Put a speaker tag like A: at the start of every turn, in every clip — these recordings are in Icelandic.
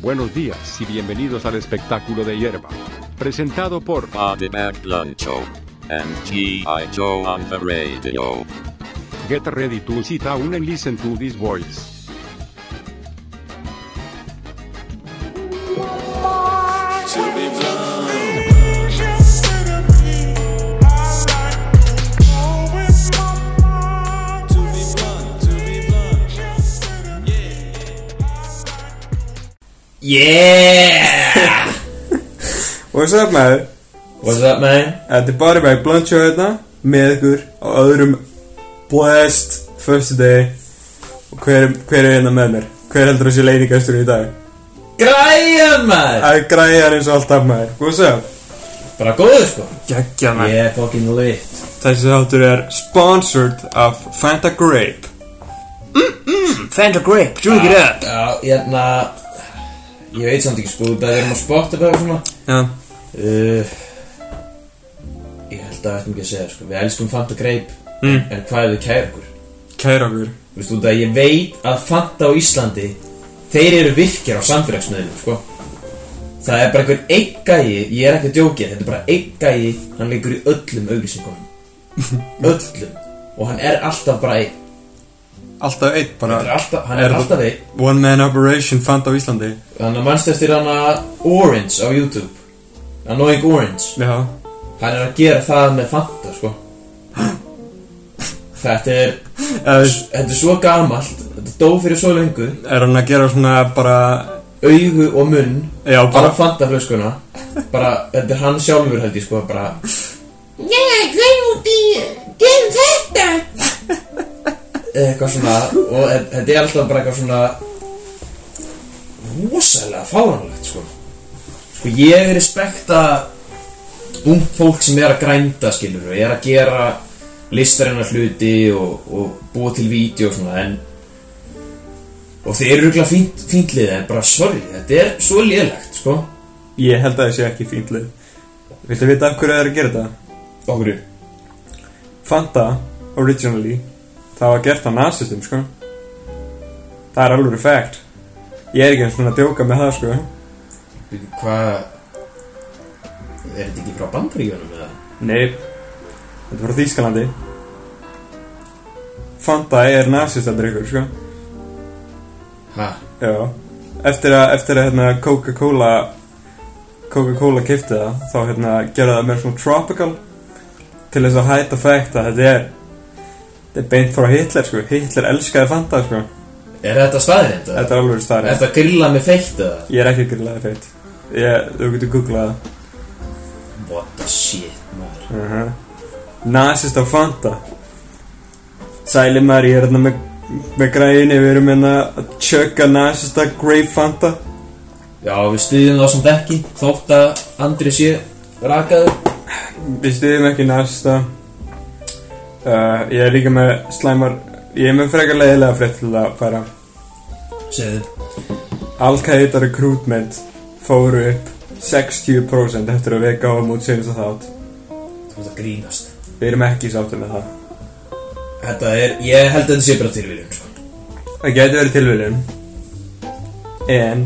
A: Buenos días y bienvenidos al espectáculo de hierba. Presentado por
B: Body Bag Luncho and G.I. Joe on the radio.
A: Get Ready to Sit Down and Listen to This Voice.
C: Yeah!
D: What's up maður?
C: What's up, man?
D: Þetta er Body Bag Blunt Show hérna með ykkur á öðrum blessed first day og hver, hver er hérna með mér? Hver heldur að sé leiningastur í dag?
C: Græjan, maður!
D: Það er græjar eins og alltaf maður What's up?
C: Bara góður, sko.
D: Gægja
C: Yeah, fucking lit.
D: Þessi þáttur er sponsored af Fanta Grape Fanta Grape, drink it up
C: Já, hérna... Ég veit samt ekki, sko, það erum að spotta bara svona.
D: Já,
C: Uh, ég held að ættum ekki að segja, sko. Við elskum Fanta Grape,
D: Mm.
C: en hvað er við kæra okkur?
D: kæra okkur
C: Veistu, út að ég veit að Fanta á Íslandi, þeir eru virkir á samfélagsmiðlum, sko. Það er bara einhver einn gæi, ég er ekki að djókja, þetta er bara einn gæi, hann leikur í öllum auglýsingunum. öllum. Og hann er alltaf bara einn.
D: Alltaf eitt bara
C: Hann er alltaf- hann er alltaf einn.
D: One man operation Fanta á Íslandi
C: Þannig að mannst eftir hann að Orange á YouTube Annoying Orange
D: Já
C: Hann er að gera það með Fanta, sko Þetta er
D: Eða,
C: Þetta er svo gamalt Þetta dó fyrir svo lengu
D: Er hann að gera svona bara
C: Augu og munn
D: Já,
C: Bara
D: bara
C: Fanta flöskuna Bara, þetta er hann sjálfur held ég, sko Bara
E: Ég glem út í Glem þetta
C: eitthvað svona Og e- þetta er alltaf bara eitthvað svona Rosalega fáranlegt, sko Sko, ég respekta Ung fólk sem er að grænda, skilur Og er að gera listarinnar hluti og, og búa til vídeo og svona en og þeir eru ekki fínt, fínt lið en bara sorry, þetta er svo liðlegt sko,
D: Ég held að það sé ekki fínt lið Viltu vita af hverju það er að gera þetta?
C: okkur
D: Fanta, originally Það var gert af nazistum, sko Það er alveg fact Ég er ekki eins og svona að djóka með það, sko
C: hvað er þetta ekki frá bandaríkjónum eða?
D: Nei Þetta var Þýskalandi Fanta er nazistadrykkur, sko
C: ha,
D: Já Eftir að, eftir að hérna, Coca-Cola Coca-Cola kifti það Þá hérna, gera það með svona tropical Til þess að hætta fact að þetta er Þetta er beint frá Hitler sko Hitler elskaði Fanta sko
C: er þetta staðrind eða?
D: Þetta er alveg
C: er
D: starri
C: þetta grilla með feitt eða?
D: Ég er ekki grillega feitt Ég, Þú getur googlað það
C: what the shit maður
D: uh Nasist á Fanta Sæli maður, ég er hérna með, með græðinni Við erum hérna að tjöka nasista Grape Fanta
C: já, við stuðum það sem dekki þótt að Andri sé rakaður
D: Við stuðum ekki næsta uh, Ég er líka með slæmar Ég er með frekar leiðilega frétt til að fara
C: segðu
D: Al-Qaeda recruitment fóru upp 60% eftir að við gáum út senast að þátt
C: þú ert að grínast
D: Við erum ekki sáttum með það
C: þetta er, ég held að þetta sé bara tilvíðum sko
D: Það getur verið tilviljun En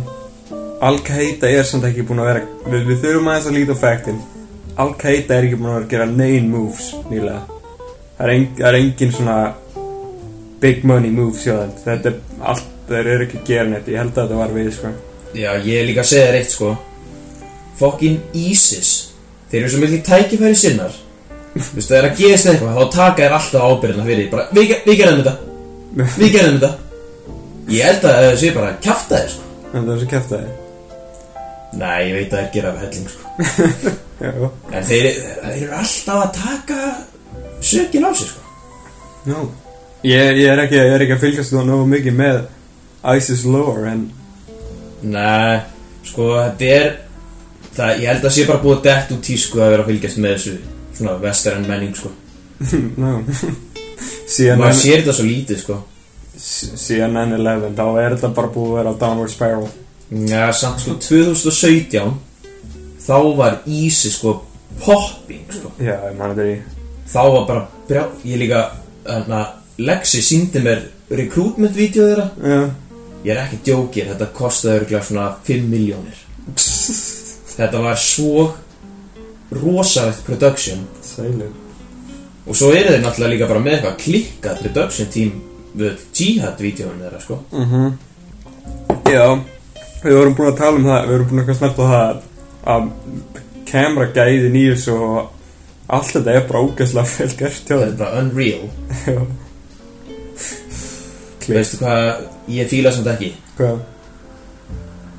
D: Al-Qaeda er samt ekki búin að vera Við, við þurfum aðeins að líta á factin Al-Qaeda er ekki búin að vera að gera nein moves nýlega Það er, en, það er engin svona Big money moves hjá þeim Þetta er allt, þeir eru ekki að gera neitt Ég held að þetta var við sko
C: Já, ég er líka að segja þér eitt sko Fokkin ISIS Þeir eru svo miklu tækifæri sinnar Vistu, það er að gerast eitthvað Þá taka þér alltaf ábyrðina fyrir því. bara, við, ge- við gerðum þetta Við gerðum þetta Ég held að það sé bara að kjafta þér sko
D: Það er svo kæft að
C: Nei, ég veit að þeir gera af helling sko
D: þið Já,
C: En þeir, þeir eru alltaf að taka Sökin á sig sko
D: no Ég, ég, er, ekki, ég er ekki að fylgjast þú nógu mikið með ISIS lore En
C: Nei, sko þetta er það, Ég held að það sé bara búið að dett út í sko Að vera að fylgjast með þessu Svona vestaren menning sko
D: no. Síðan
C: Maður sér þetta svo lítið sko
D: síðan 9-11 þá er þetta bara búið að vera á downward spiral
C: Já, samt sko 2017 þá var Ísi sko popping sko.
D: já, ég manna þetta í
C: þá var bara brjá, hérna, ég líka hana, Lexi síndi mér recruitment vídeo þeirra
D: já,
C: Ég er ekki djókir, þetta kostaði örgulega svona 5 miljónir Þetta var svo rosalegt production
D: Sælir
C: og svo eru þeir náttúrulega líka bara með eitthvað klikkað production team við jihad-vídeóinu þeirra sko
D: Já, við vorum búin að tala um það Við vorum búin að snart á það að- að kameragæðin í þessu og allt þetta er bara ógæslega vel gert hjá
C: það er
D: þeim
C: bara unreal
D: Já.
C: veistu hvað ég fíla samt ekki
D: Hvað?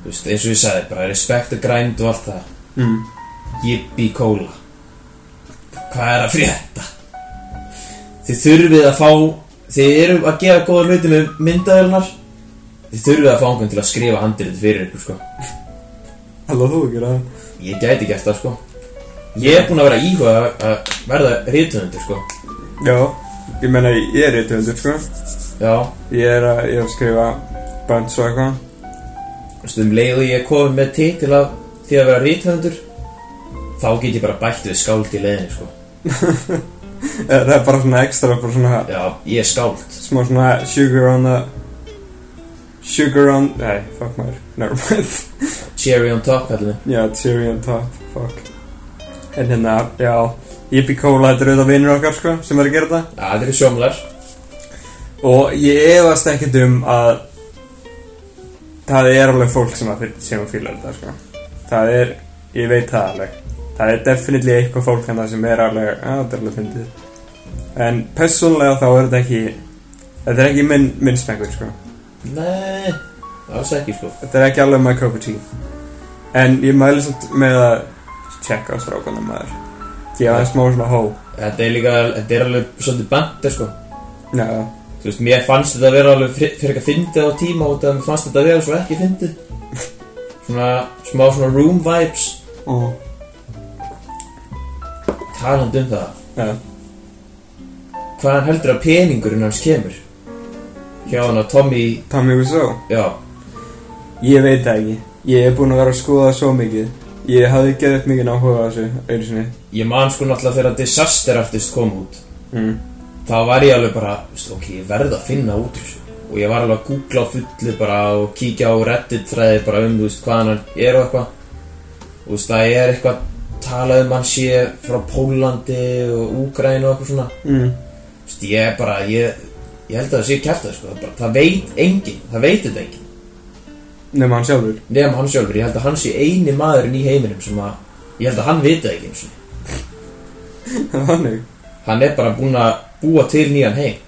C: Þú veist, eins og ég sagði bara respekt og grænd og allt það
D: Mm.
C: jippi kóla hvað er að frétta þið þurfið að fá þið eru að gera góða hluti með myndaðelnar þið þurfið að fá einhvern til að skrifa handrið fyrir ykkur sko
D: Alla þú ekki það?
C: ég gæti gert það sko ég er búin að vera íhuga að verða rýtunundur sko
D: Já, ég meina ég er reytjöndur sko
C: já
D: Ég er að, ég er að skrifa bands og eitthvað
C: Stum um leið og ég er komin með titil af því að vera rítvendur þá get ég bara bætt við skáld í leiðinni sko.
D: Eh, Það er bara svona ekstra, bara svona
C: Já, ég er skáld
D: smá svona sugar on the Sugar on, nei, fuck maður, nevermind
C: Cherry on top kallum við
D: Já, cherry on top, fuck En hérna, já Yippie Cola, þetta eru auðvitað vinnur okkar, sko sem er að gera þetta
C: Já, það eru sjómlar
D: og ég efast ekkert um að það er alveg fólk sem að, fyl- sem að fíla þetta, sko það er, ég veit það alveg það er definitely eitthvað fólk en það sem er alveg, að þetta er alveg fyndið en persónulega þá er þetta ekki þetta er ekki minn, minn smengur, sko
C: Nei, alls ekki sko
D: þetta er ekki alveg my cup of tea en ég mæli samt með að checka á strákana maður gefa það smá svona hó
C: Þetta er líka, þetta er alveg svolítið bandir sko
D: Já,
C: Þú veist, mér fannst þetta að vera alveg fri- fyrir ekki að fyndið á tíma út af að mér fannst þetta að vera svo ekki fyndið Svona, smá svona room vibes
D: uh.
C: Talandi um það
D: já.
C: Hvaðan heldur að peningurinn hans kemur? Hjá hann að Tommy,
D: Tommy Wiseau
C: já,
D: Ég veit það ekki Ég er búinn að vera að skoða svo mikið Ég hafði geðið upp mikið náhuga á þessu einu sinni
C: ég man sko náttúrulega þegar Disaster Artist kom út
D: mm.
C: þá var ég alveg bara, veist, ok, ég verð að finna út úr þessu og ég var alveg að googla á fullu bara og kíkja á reddit þræði bara um, þú veist, hvaðan hann er og eitthvað og þú veist, það er eitthvað talað um hann sé frá Pólandi og Úgræn og eitthvað svona
D: Mm.
C: þú veist, ég er bara, ég ég held að það sé kæft sko, það, er bara, það veit enginn, það veit þetta enginn
D: Nefn hann sjálfur
C: nefn hann sjálfur, ég held að hann sé eini maðurinn í heiminum sem að, ég held að hann vita ekki eins og
D: Þannig
C: hann er bara búinn að búa til nýjan heim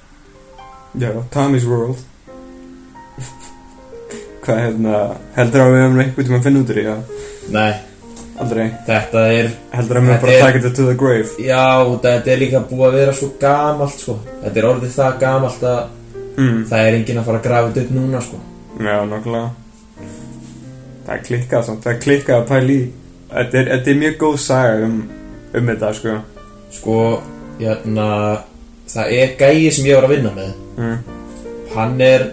D: Já, Tommy's World Hvað hérna Heldur að við hefum einhvern tímann að finna út úr því Já,
C: nei,
D: aldrei
C: þetta er
D: Heldur að
C: Þetta
D: við hefum
C: er-
D: bara að taka þetta to the grave
C: já, þetta er líka búið að vera svo gamalt sko. þetta er orðið það gamalt að
D: mm.
C: það er enginn að fara að grafa þetta upp núna sko.
D: Já, nokkulega Það er klikkað samt, það er klikkað að pæla í Þetta er, þetta er mjög góð saga um, um þetta, sko
C: sko, hérna það er gæi sem ég var að vinna með
D: mm.
C: hann er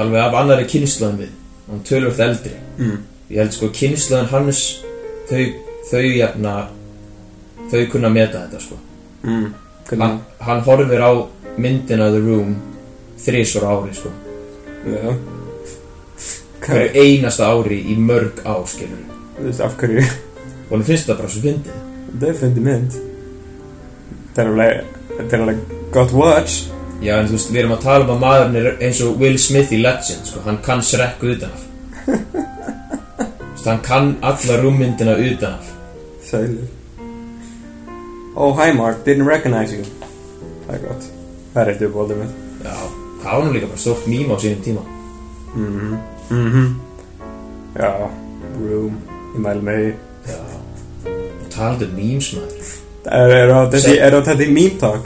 C: alveg af annari kynnslöðum við hann tölvöld eldri
D: Mm.
C: ég held sko kynnslöðun hans þau, þau hérna þau kunna að meta þetta sko.
D: Mm.
C: hann,
D: Hvernig?
C: hann horfir á myndina The Room þrísor ári sko.
D: Já Hvað,
C: hverju einasta ári í mörg ár skilur
D: þú veist, af hverju
C: og hann finnst það bara svo fyndið
D: Þetta er fundið mynd Þetta er alveg, þetta er alveg gott watch
C: já en þú veist við erum að tala um að maðurinn er eins og Will Smith í Legend sko, hann kann Shrek utanaf Þú veist, hann kann alla rúmmyndina utanaf
D: Sælir Oh, hi Mark, didn't recognize you Það er gott Það er eitt uppvaldið mitt
C: já það var nú líka bara stórt mím á sínum tíma
D: Mhm, mhm Já, room Ég mæli með því
C: já og talandi um memes maður
D: Er, er, á, þessi,
C: Sæll.
D: er á þetta í meme talk?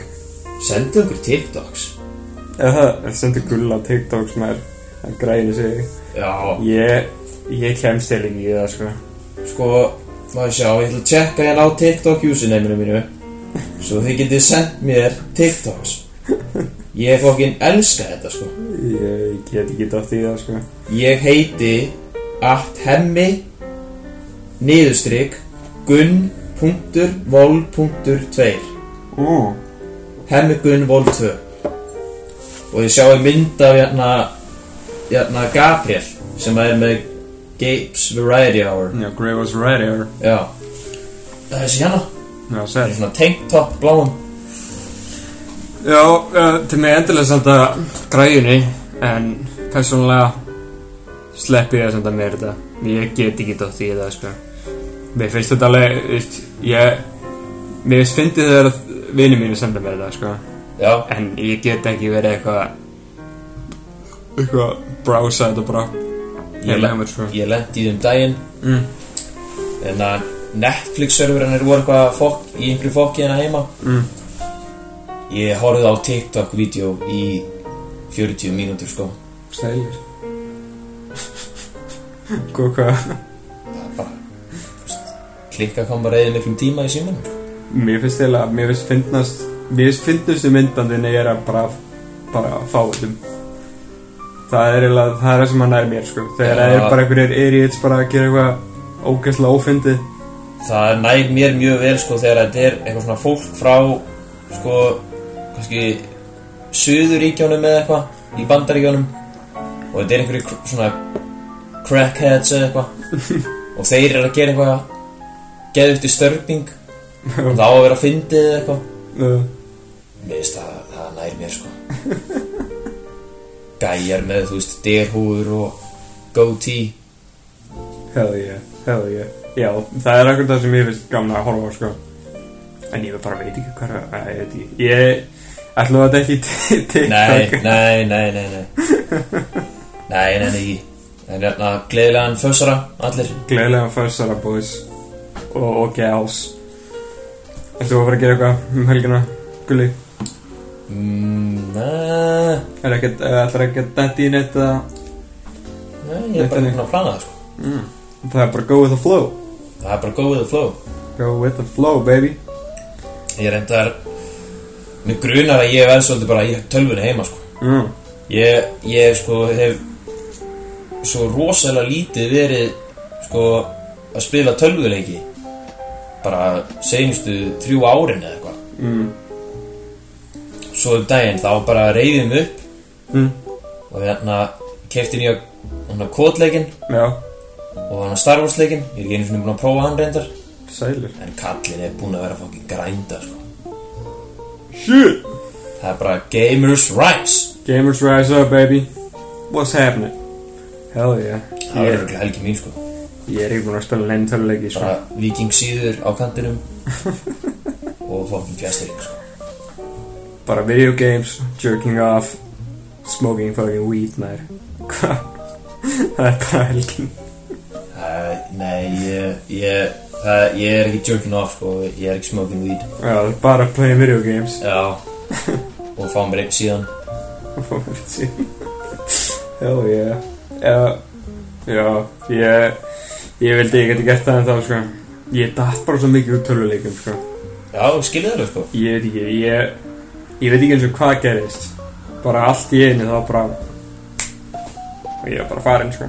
C: sendu okkur TikToks
D: Eða það er sendur gulla á TikTok sem er að græði sig
C: já
D: Ég, ég kemst til í það sko
C: sko maður sjá ég ætla að checka hérna á TikTok username-inu mínu svo þið getið sendt mér TikToks ég fokkin elska þetta sko
D: Ég get ekki dótt í það sko
C: Ég heiti at hemmi niðurstrykk gunn.vol.2
D: Ó,
C: hemmi gunn vol 2 og ég sjáu mynd af hérna Jörna Gabriel Sem er með Gapes Variety Hour
D: Já, Grey was red air
C: Já Það er þessi hérna
D: Já,
C: Það
D: sér
C: er svona tank top bláum
D: Já, uh, til mig endilega samt að græjunni En persónulega Sleppi ég að senda mér þetta Ég get ekki dótt í það, sko Mér finnst þetta alveg, veist Ég, mér finnst fyndið þegar Vinni mínu senda mér þetta, sko
C: Já
D: En ég get ekki verið eitthvað Eitthvað Brása þetta bara Ég lega mér, sko
C: Ég lendi í þeim daginn
D: Mm.
C: En að Netflix serverinn er voru eitthvað fokk, Í einhverju fokki hérna heima
D: Mm.
C: Ég horfði á TikTok vídeo í 40 mínútur sko
D: Stælir Góð Sko, hvað
C: Klikka kom bara eða miklum tíma í símanum
D: Mér finnst til að mér finnst finnast Mér finnst finnastu myndandin er að bara bara fá öllum Það er eiginlega, það er það sem hann er mér sko Þegar
C: Já.
D: það er bara einhverjir idiots bara að gera eitthvað ógæslega ófindi
C: það næg mér mjög vel sko þegar þetta er eitthvað svona fólk frá sko kannski suðuríkjónum eða eitthvað í bandaríkjónum og þetta er einhverju kr- svona crackheads eða eitthvað og þeir eru að gera eitthvað geðugt í störping og það á að vera fyndið eða eitthvað
D: uh,
C: Mér finnst það, það nær mér sko Gæjar með, þú veist, derhúður og goatee
D: Hell yeah, hell yeah Já, það er akkur það sem ég finnst gaman að horfa á sko En ég bara veit ekki hvað að, að, ég veit ekki Ég ætlum að þetta ekki til TikTok
C: Nei, nei, nei, nei, nei Nei, nei, nei Það er hérna gleðilegan fösara Allir
D: Gleðilega færsara boys og, og gals Ertu að fara að gera eitthvað um helgina, Gulli?
C: mm, Nei,
D: Er ekkert, eh, ætlar ekkert dætt í neitt að
C: nei, ég er bara ekki búinn að plana það sko
D: Það er bara go with the flow
C: Það er bara go with the flow
D: Go with the flow, baby
C: Ég reyndar Mér grunar að ég verð svolítið bara í tölvunni heima sko
D: mm.
C: Ég, ég sko hef Svo rosalega lítið verið Sko að spila tölvuleiki Bara seinustu þrjú árin eða eitthvað
D: Mm.
C: Svo um daginn þá bara reyðum upp
D: Mm.
C: og hérna kefti nýja hérna kótleikin
D: Já,
C: og hérna Star Wars leikin ég er ekki einu svona búin að prófa hann reyndar
D: sælir
C: en kallin er búin að vera fokkin grænda sko.
D: Shit
C: það er bara gamers rights
D: Gamers rise up, baby What's happening? Hell yeah
C: það er
D: Ég,
C: ekki helgi mín sko
D: ég er ekki búin að spila neinn töluleiki sko.
C: bara vikingsýður á kantinum og fokkin fjastering sko.
D: Bara video games, jerking off Smoking fucking weed nær Hvað? Það er bara helgin
C: það, nei ég, ég, það, ég er ekki jerking off sko. ég er ekki smoking weed
D: Já, bara play video games
C: já og fá mér einn síðan
D: Hell yeah Já, já ég, ég vildi ég geti gert það en þá sko Ég datt bara svo mikið úr tölvuleikum sko
C: já skilir það sko
D: Ég veit ekki, ég, ég veit ekki eins og hvað gerist Bara allt í einu þá bara Og ég er bara farinn sko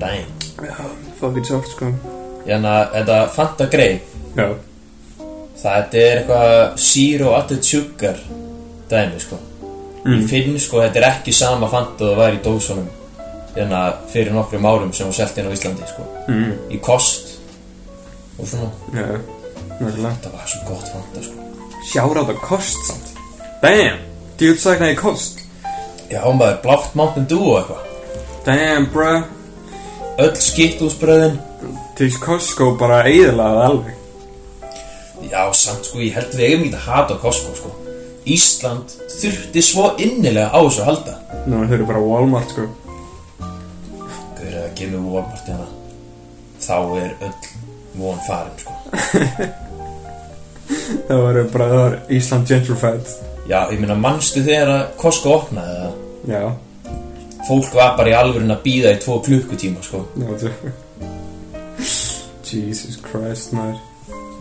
C: dæn
D: Já, fucking sátt sko
C: hérna þetta fanta grei
D: Já,
C: Það er eitthvað zero added sugar dæmi sko Ég finn sko þetta er ekki sama fanta og það var í dósunum hérna fyrir nokkrum árum sem hún selti hérna á Íslandi sko
D: mm,
C: í kost og svona
D: já, náttúrulega
C: þetta var svo gott fanta sko
D: Sjáráð á kost samt Damn, djúl sagnaði kost
C: Já maður blátt Mountain Dew og eitthvað
D: Damn, bruh
C: öll skitt úsbröðin
D: Til Costco sko bara eðilaði alveg
C: Já samt sko ég held við eigum ekki að hata Costco sko Ísland þurfti svo innilega á þessu að halda
D: Nú þau eru bara Walmart sko
C: Gauður að gefa mér Walmart hérna þá er öll von farin sko
D: Það eru bara það var Ísland gentrified
C: Já, ég meina, manstu þegar að Costco opnaði það?
D: Já,
C: Fólk var bara í alvörun að býða í tvo klukkutíma, sko.
D: já þú Jesus Christ maður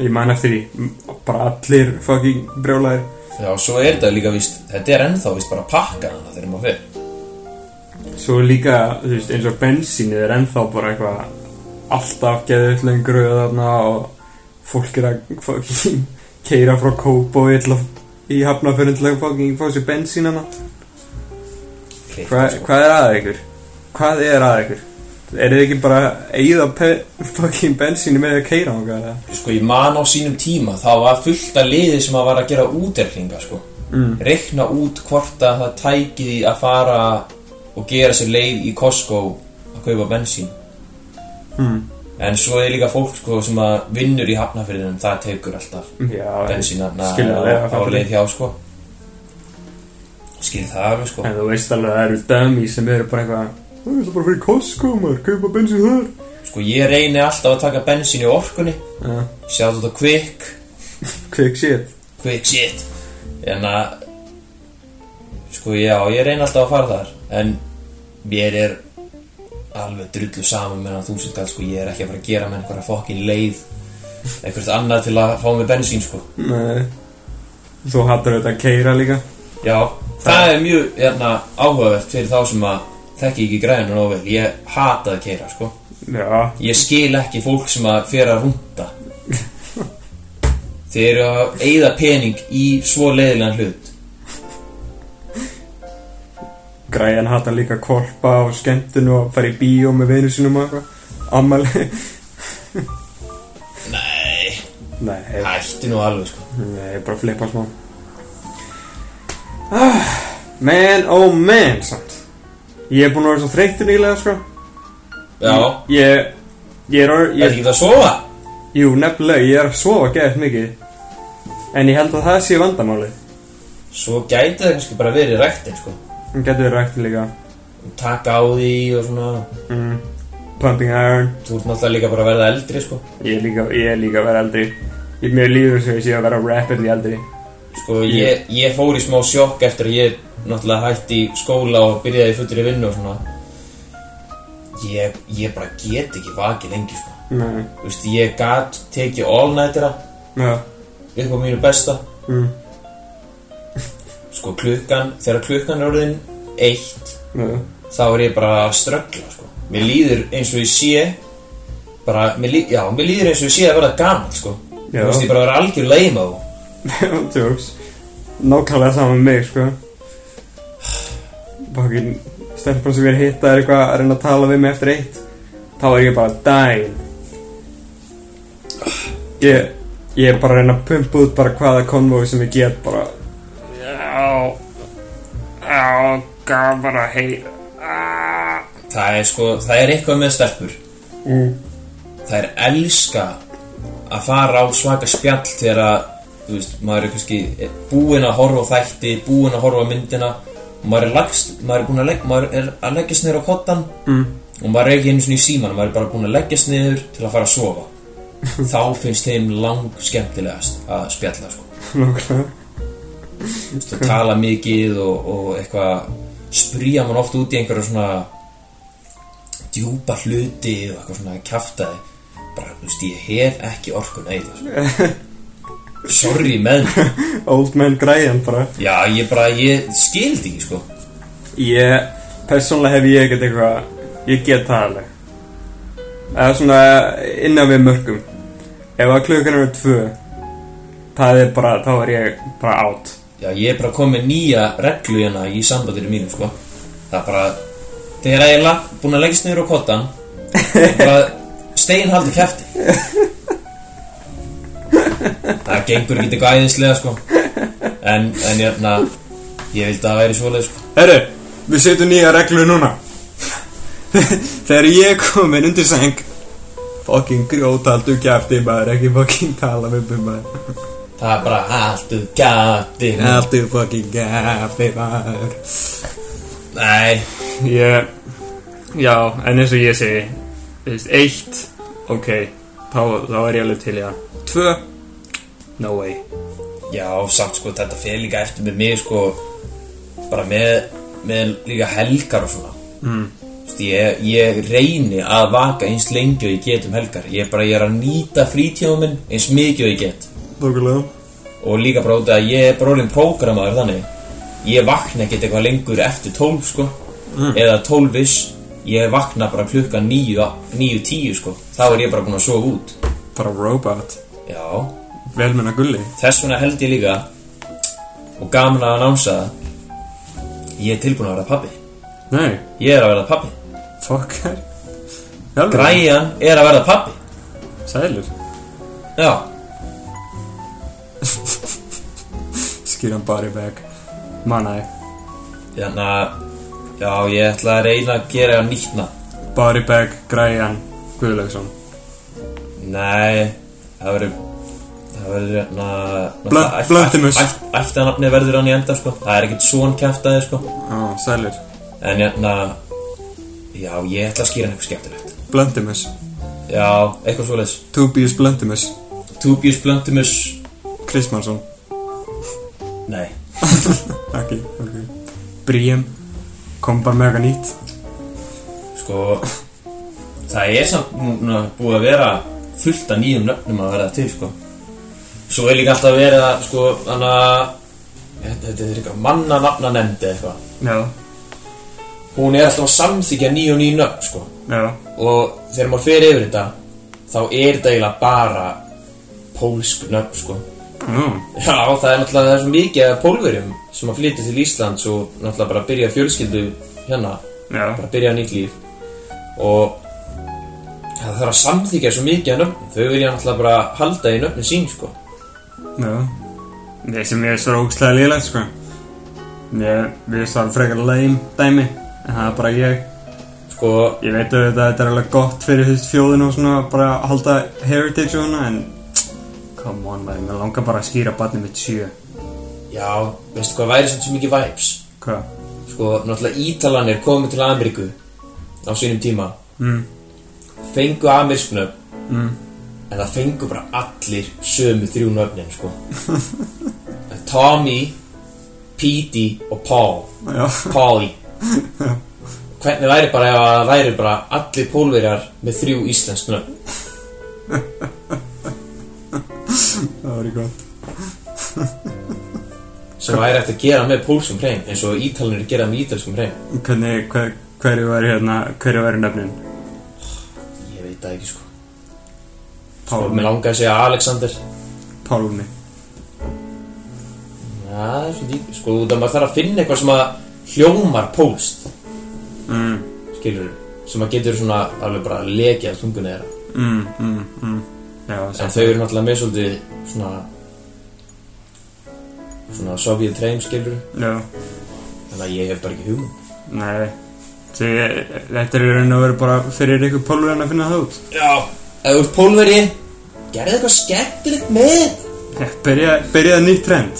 D: Ég man eftir því m- bara allir fucking brjólaðir
C: Já, svo er þetta líka víst, þetta er ennþá víst bara að pakka hana þegar maður fyrir.
D: Svo líka, þú veist, eins og bensínið er ennþá bara eitthvað alltaf geðið lengur þarna og fólk er að fucking keira frá kóp og eitthvað í hafnafjörðin til að fucking fá sér bensín hana
C: keitt
D: Hva,
C: sko.
D: hvað er aðeins ykkur? Hvað er aðeins ykkur? Er þið ekki bara eigið að fucking bensínu með því að keira á eða?
C: sko, ég man á sínum tíma þá var fullt af liði sem að var að gera úterklinga sko. mm. reikna út hvort að það tæki því að fara og gera sér leið í Costco að kaupa bensín
D: Mm.
C: en svo er líka fólk sko, sem að vinnur í hafnafyrðinum það tekur alltaf
D: Já,
C: bensína
D: skilja það,
C: á
D: Mm. já,
C: leið hjá sko. skil það alveg sko.
D: En þú veist alveg að það eru dömi sem eru bara eitthvað Það er það bara fyrir Costco maður, kaupa bensín þar
C: sko ég reyni alltaf að taka bensín í orkunni
D: Já,
C: sjá þetta quick
D: quick shit
C: quick shit en að sko já, ég reyni alltaf að fara þar en mér er alveg drullu saman meðan þú sem sko, ég er ekki að fara að gera með einhverja fokkin leið einhvert annað til að fá mig bensín sko
D: Nei Þú hattar auðvitað að keira líka
C: já, það er mjög hérna, áhugavert fyrir þá sem að þekki ekki græðinu nógu vel ég hata að keira sko
D: Já,
C: ég skil ekki fólk sem að fyrir að rúnda þeir eru að eyða pening í svo leiðilegan hlut
D: græjan hattar líka að kolpa á skemmtun og fara í bíó með vinu sinum og eitthvað Ammali
C: nei,
D: Nei,
C: hættu nú alveg sko
D: Nei, ég bara flipa smá ah, Man, oh man, samt Ég er búinn að vera svo þreytur nýlega, sko
C: Já,
D: Ég, ég er orð
C: ég er
D: ég,
C: ekki það að sofa
D: Jú, nefnilega, ég er að sofa gett mikið En ég held að það sé vandamáli
C: Svo gæti það kannski bara verið rektin sko.
D: Hún getur verið rækt líka
C: Taka á því og svona
D: mm, Pumping iron
C: Þú ert náttúrulega líka bara að verða eldri sko.
D: Ég er líka, ég er líka að vera eldri Ég er mjög líður sem ég sé að vera rapidly eldri
C: Sko, ég, ég fór í smá sjokk eftir að ég náttúrulega hætti í skóla og byrjaði í fullri vinnu og svona Ég, ég bara get ekki vakið lengi sko.
D: Nei,
C: Þú veist, ég gat tekið all-nightera
D: já,
C: upp á mínu besta
D: mm,
C: Sko, klukkan, þegar klukkan er orðin eitt
D: já,
C: þá er ég bara að ströggla sko. mér líður eins og ég sé bara, mér líður, já, mér líður eins og ég sé að verða gaman sko.
D: Já.
C: þú veist ég bara að vera algjör leima og
D: Jokes Nákvæmlega saman með mig sko Bakin Stelpan sem ég er að hitta er eitthvað að reyna að tala við mig eftir eitt Þá er ég bara dæn Ég Ég er bara að reyna að pumpa út bara hvaða konvói sem ég get bara Já Já Gaf bara að heyra
C: það er sko, það er eitthvað með stelpur
D: mm.
C: það er elska að fara á svaka spjall þegar að, þú veist, maður er kannski búinn að horfa á þætti, búinn að horfa á myndina og maður er lagst, maður er búinn að legg, maður er að leggjast niður á kottan mm. og maður er ekki einu svona í síman maður er bara búinn að leggjast niður til að fara að sofa þá finnst þeim lang skemmtilegast að spjalla sko.
D: Nákvæmlega
C: Þú veist, að tala mikið og, og eitthvað sprýja mann oft út í einhverju svona djúpa hluti og eitthvað svona kjaftaði bara, þú veist, ég hef ekki orkun eða sko. sorry með mig.
D: Old man græjan bara
C: já, ég bara, ég skildi ekki sko.
D: Ég, persónlega hef ég ekkert eitthvað Ég get það alveg Það er svona innan við mörgum Ef að klukkan eru tvö Það er bara, þá er ég bara átt
C: já, ég er bara komið nýja reglu hérna í sambandinu mínu sko. það er bara þegar ég er lag- búin að leggja sniður á kottan bara stein haldi kjafti það gengur ekki eitthvað æðislega sko. en, en jörna, ég vildi að það væri svoleið sko.
D: Herru, við setjum nýja reglu núna Þegar ég er komin undir seng Fucking grjótaldu kjæfti maður Ekki fucking tala með mér maður
C: það er bara haldu kjafti
D: Allt er fucking kjæfti maður
C: nei,
D: Ég, já, en eins og ég segi Þú veist, eitt Ok, þá, þá er ég alveg til, já Tvö No way
C: já, samt sko þetta fer líka eftir með mig sko, bara með, með líka helgar og svona
D: mm.
C: Vist, ég, ég reyni að vaka eins lengi og ég get um helgar ég, bara, ég er að nýta frítíðum minn eins mikið og ég get
D: Nókulega
C: og líka bara út af að ég er bara orðin prógramaður þannig ég vakna ekkert eitthvað lengur eftir 12 sko eða 12 is ég vakna bara klukkan 9 9.10 sko, þá er ég bara búinn að sofa út
D: Bara robot
C: já,
D: Velmenna gulli
C: þess vegna held ég líka og gaman að námsa það ég er tilbúinn að vera pabbi
D: Nei,
C: Ég er að verða pappi
D: fokkar Hjálfur.
C: Græjan er að verða pappi
D: Sælir
C: Já,
D: Skýran body bag Manna ég
C: þannig að Hérna, Já, ég ætla að reyna að gera eitthvað nýtt nafn
D: Body bag Græjan Guðlaugsson
C: Nei, það verður Það verður hérna
D: Blönd-
C: náttúrulega ætt-
D: Blöndimus.
C: ætt- ætt- Ættanafni verður hann í enda sko Það er ekkert svon kjæftaði sko
D: Á, sælir
C: En hérna Já, ég ætla að skýra hann eitthvað skemmtilegt
D: Blöndimus
C: Já, eitthvað svoleiðis
D: Tobias Blöndimus
C: Tubius Blöndimus
D: Kristmannsson
C: Nei
D: Ekki, ok Bríum Kom bara með eitthvað nýtt
C: Sko Það er samt núna búið að vera fullt af nýjum nöfnum að verða til sko Svo er líka alltaf verið að sko Þannig að Þetta þetta er eitthvað mannanafna nefndi eitthvað
D: Já
C: Hún er alltaf að samþykja nýju og nýju nöfn sko
D: Já
C: og þegar maður fer yfir þetta þá er þetta eiginlega bara pólsk nöfn sko
D: Nú
C: Já, það er náttúrulega það er svo mikið af pólverjum sem að flytja til Íslands og náttúrulega bara byrja fjölskyldu hérna
D: Já
C: bara byrja nýtt líf og það þarf að samþykja svo mikið af nöfnum þau vilja náttúrulega bara halda í nöfnum sín sko
D: Já Ég sem ég er svo ógstlega lélegt sko Ég, við svarum frekar lame dæmi En það er bara ég
C: sko,
D: Ég veit auðvitað að þetta er alveg gott fyrir þess fjóðinu og svona bara að halda heritage og svona en come on maður, mér langar bara að skýra barnið mitt sjö
C: já, veistu hvað væri sem svo mikið vibes
D: Hvað?
C: sko, náttúrulega Ítalanir komu til Ameríku á sínum tíma
D: Mm.
C: fengu amerísk nöfn
D: Mm.
C: en það fengu bara allir sömu þrjú nöfnin sko. Tommy Petey og Paul
D: Já,
C: Polly hvernig væri bara ef að væri bara allir pólverjar með þrjú íslensk nöfn
D: það var í gott
C: sem væri eftir að gera með pólskum hrein eins og ítalunir gera með ítalskum hrein
D: Hvernig, hver, hverju væri hérna, hverju væri nöfnin?
C: ég veit það ekki sko og
D: Pálmi
C: mér langaði að segja Alexander
D: Pálmi
C: Já, það er svona líka, sko, út að maður þarf að finna eitthvað sem að hljómar pólst
D: mm,
C: skilur sem að getur svona alveg bara að lekja að tungunni þeirra
D: mm, mm, mm. Já,
C: en
D: samt
C: þau eru náttúrulega með svolítið svona svona sovjet reym skilur
D: Já,
C: þannig að ég hef bara ekki hugum
D: nei Því, eh, þetta er í raun og veru bara fyrir ykkur pólverjan að finna það út
C: Já, ef þú ert pólveri gerði eitthvað skemmtilegt með þetta.
D: Já, Eh, Byrja, byrjaði nýtt trend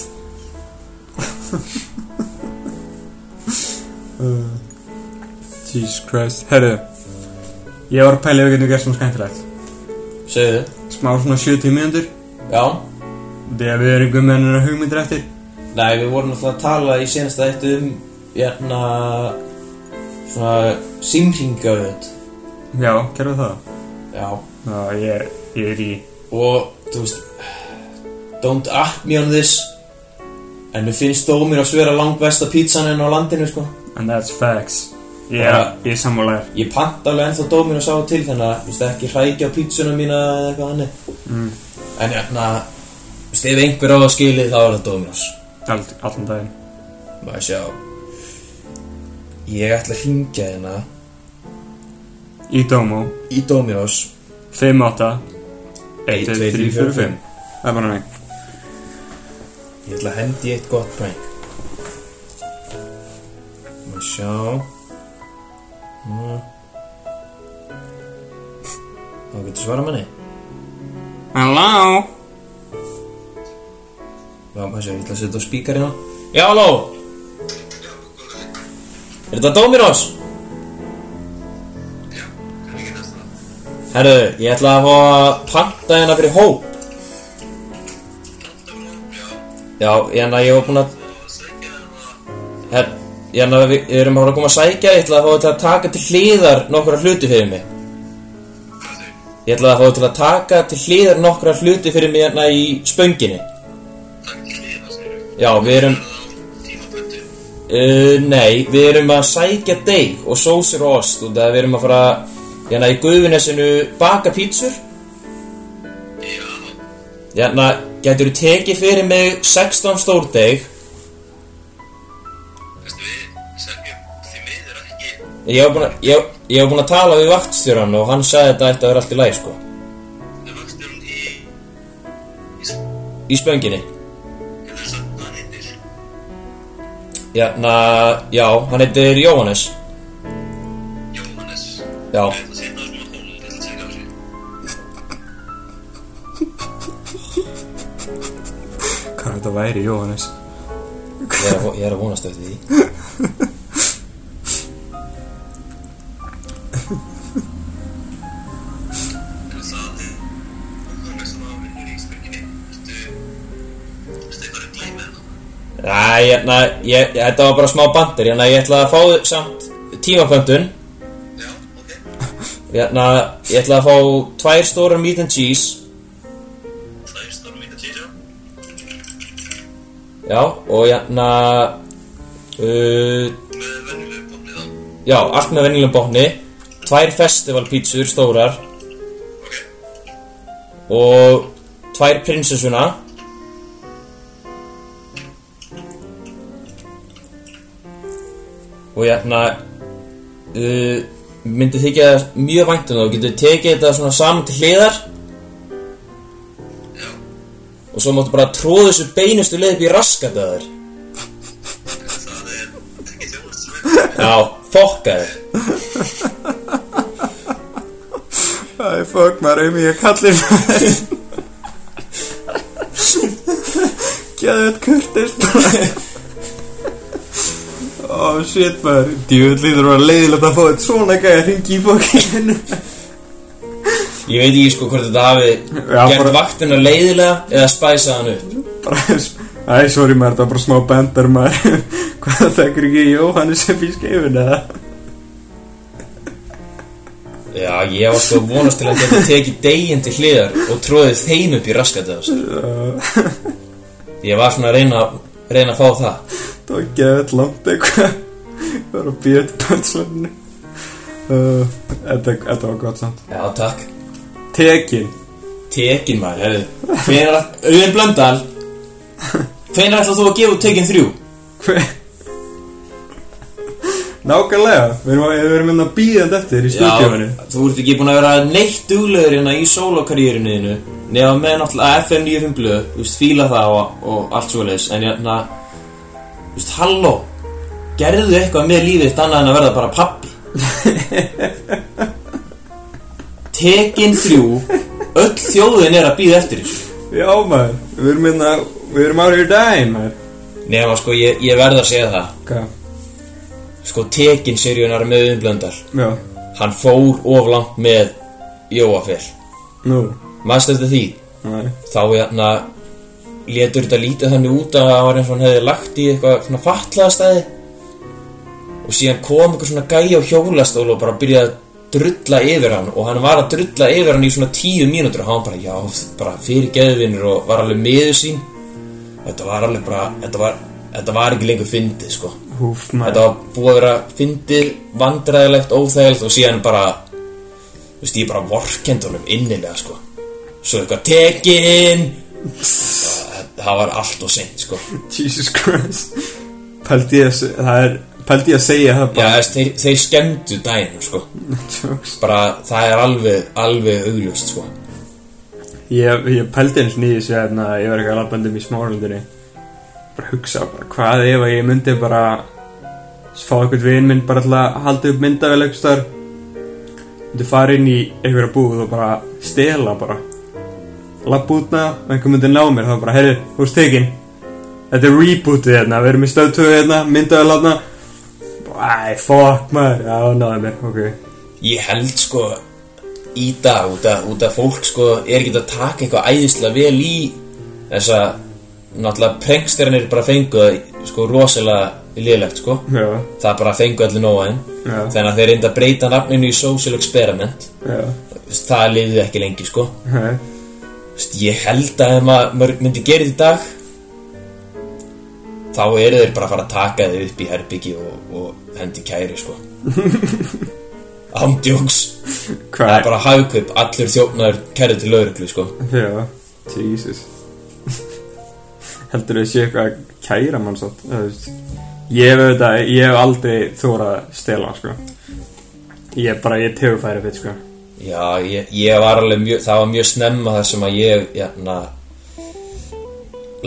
D: Uh, Jesus Christ Herðu Ég var að pæla ef við getum gert svona skemmtilegt
C: segðu,
D: Smá svona 70 mínútur
C: já
D: Þegar við erum einhver mennir að hugmyndir eftir
C: nei, við vorum náttúrulega að tala í senasta eitt um hérna svona símringaöð
D: Já, gerðu það
C: já,
D: Já, ég, ég er í
C: og þú veist don't act me on this en mér finnst dómir að svera langvesta pizzan enn á landinu sko
D: And that's facts Ég,
C: Bara-
D: ég er sammálaður
C: ég panta alveg ennþá dóminu að sá til þannig að þú veist, ekki hrækja á pítsuna mína eða eitthvað annir
D: Mm.
C: en hérna þú veist, ef einhver á að skili þá er það dóminus
D: Allt, Allan daginn
C: maður sjá ég ætla að hringja hérna
D: Í Dómo
C: í dóminus
D: 58
C: Eitt, tveir, þrír, fjórir, fimm.
D: Það er bara mig
C: ég ætla að hendi í eitt gott prank maður sjá Hm. Nú. þá getur svara manni
D: Hello
C: Já, maður sé, ég ætla að setja á spíkar hérna Já, halló Er þetta Dominos? Herru, ég ætla að fá að panta hérna fyrir hóp Já, hérna ég var búinn að Her, hérna við, við erum að fara að koma að sækja Ég ætla að fá þetta að taka til hliðar nokkra hluti fyrir mig Ég ætla að fá þetta að taka til hliðar nokkra hluti fyrir mig hérna í spönginni Já, við erum uh, Nei, við erum að sækja deig og sósir og ost og það við erum að fara hérna í guðunesinu baka pítsur Hérna, getur þú tekið fyrir mig 16 stór deig
F: Þú veist við, sem ég, því miður ekki
C: Ég var búinn að- ég- ég var búinn að tala við vaktstjóran og hann sagði að þetta ætti að vera allt í lagi, sko.
F: Það var stjórn í,
C: Í spönginni.
F: hefur það sagt hvað hann heitir?
C: Já, na, Hérna, já, hann heitir Jóhannes.
F: Jóhannes.
C: Já.
F: Ég ætla að setja á smá tón, ég ætla að segja á sig.
D: Hvað er þetta væri, Jóhannes?
C: Ég er, að- ég er að vonast eftir því.
F: En það, eh, Jóhannes sem að vinnur í spurginni, ertu, ertu eitthvað að gleyma hérna?
C: Næ, ég, na, hérna, ég, ég, þetta var bara smá bandir, ég, ég ætla að fá samt tímapöntun.
F: Já, ok.
C: Ég, na, ég ætla að fá tvær stórar meat and cheese.
F: Það er stjórn mín að títa.
C: Já, og ég, na, uh,
F: Með venjulegu bóknið þá.
C: já, allt með venjulegum botni. Tvær festivalpítsur stórar
F: Ok,
C: og tvær prinsessuna. og hérna uh, myndi þykja það mjög vænt um það og getur tekið þetta svona saman til hliðar
F: já.
C: og svo máttu bara tróða þessu beinustu leið upp í raskatöður
F: Það er, það er ekki þjóðast sem er.
C: já, fokkaður
D: Það er fokk, maður um ég kallir maður Gæðu þetta kurtis maður Ó, shit maður Djúvill lítur að leiðilegt að fá þetta svona gæði að ringi í fokkinu
C: ég veit ekki sko hvort þetta hafi
D: Já,
C: gert
D: bara-
C: vaktina leiðilega eða spæsað hann upp
D: Bara, æ, sorry maður, það var bara smá bendar maður Hvað það tekur ekki Jóhannes upp í skeifinu eða?
C: já, ég var sko að vonast til að geta tekið deginn til hliðar og tróðið þeim upp í raskatöður
D: Það
C: ég var svona að reyna, reyna að fá það
D: var gæðu þetta langt eitthvað Það var að býja þetta bænsvöndinu Uh, þetta, þetta var gott samt
C: já, takk
D: Tekin
C: Tekin maður, herðu Hvenær að, Auðun Blöndal Hvenær ætlar þú að gefa út tekin þrjú?
D: Hver? Nákvæmlega, við erum, við erum inn að býða þetta eftir í stúdíóinu
C: þú ert ekki búin að vera neitt duglegur hérna í sólokarýrinu þínu Nefna með náttúrulega FM 95 blöð Þú veist, fíla það og, og allt svoleiðis En hérna, þú veist, halló Gerðu eitthvað með lífið þitt annað en að verða bara pappi Tekin þrjú Öll þjóðin er að býða eftir þessu
D: Já maður, við erum inn að, við erum out here dying maður
C: Nefna, sko, ég, ég verð að segja það
D: Hvað?
C: sko tekin sirjunar með umblöndar
D: Já,
C: hann fór of langt með Jóafell
D: nú,
C: maður eftir því
D: maður
C: þá hérna letur þetta lítið þannig út að það var eins og hann hefði lagt í eitthvað svona fatlaða stæði og síðan kom einhver svona gæja á hjólastól og bara byrjaði að drulla yfir hann og hann var að drulla yfir hann í svona tíu mínútur og hann bara já, bara fyrir geðvinur og var alveg miður sín þetta var alveg bara þetta var, þetta var ekki lengur fyndið sko
D: Húf
C: Þetta
D: maður
C: var búið að vera fyndið, vandræðilegt, óþægilegt og síðan bara Þú veist, ég bara vorkend honum innilega, sko Svo eitthvað tekin Það- Það var allt og seint, sko
D: Jesus Christ Pældi ég að, se- það er, pældi ég að segja það
C: Já,
D: bara
C: þess, þeir, þeir skemmtu daginn, sko
D: Jokes.
C: Bara, það er alveg, alveg augljóst, sko
D: Ég, ég pældi eins og nýðis ég hérna, ég var eitthvað að labbandum í smáraldinni bara hugsa bara hvað ef að ég myndi bara fá eitthvað vin minn bara alltaf að halda upp myndavel eitthvað star myndi fara inn í einhverja búð og bara stela bara labba út með það og einhver myndi ná mér þá bara herri, þú veist tekin þetta er rebootið hérna, við erum í stöðtöðu hérna myndavel hérna Æ, fuck maður, já, náðu mér, ok
C: Ég held, sko, í dag út að, út að fólk, sko, er ekki að taka eitthvað æðislega vel í Þessa, náttúrulega, prengsterinir bara fengu það, sko, rosalega liðlegt, sko
D: Já,
C: það bara fengu allir nóaðin
D: Já.
C: þannig að þeir reynda að breyta nafninu í Social Experiment
D: já,
C: það liðið ekki lengi sko
D: hei,
C: Vist, ég held að ef maður maður myndi gera þetta í dag þá eru þeir bara að fara að taka þið upp í herbyggi og, og hendi kæri sko ándjóks það er
D: hvað,
C: bara hagkaup allur þjófnar kæri til lauruglu sko
D: Já, Jesus Heldur þau séu eitthvað að kæra mann satt eða þú veist, Ég hef auðvitað, ég hef aldrei þórað að stela, sko Ég er bara, ég er tegurfæri fyrir, sko
C: Já, ég, ég var alveg mjög, það var mjög snemma þar sem að ég, hérna,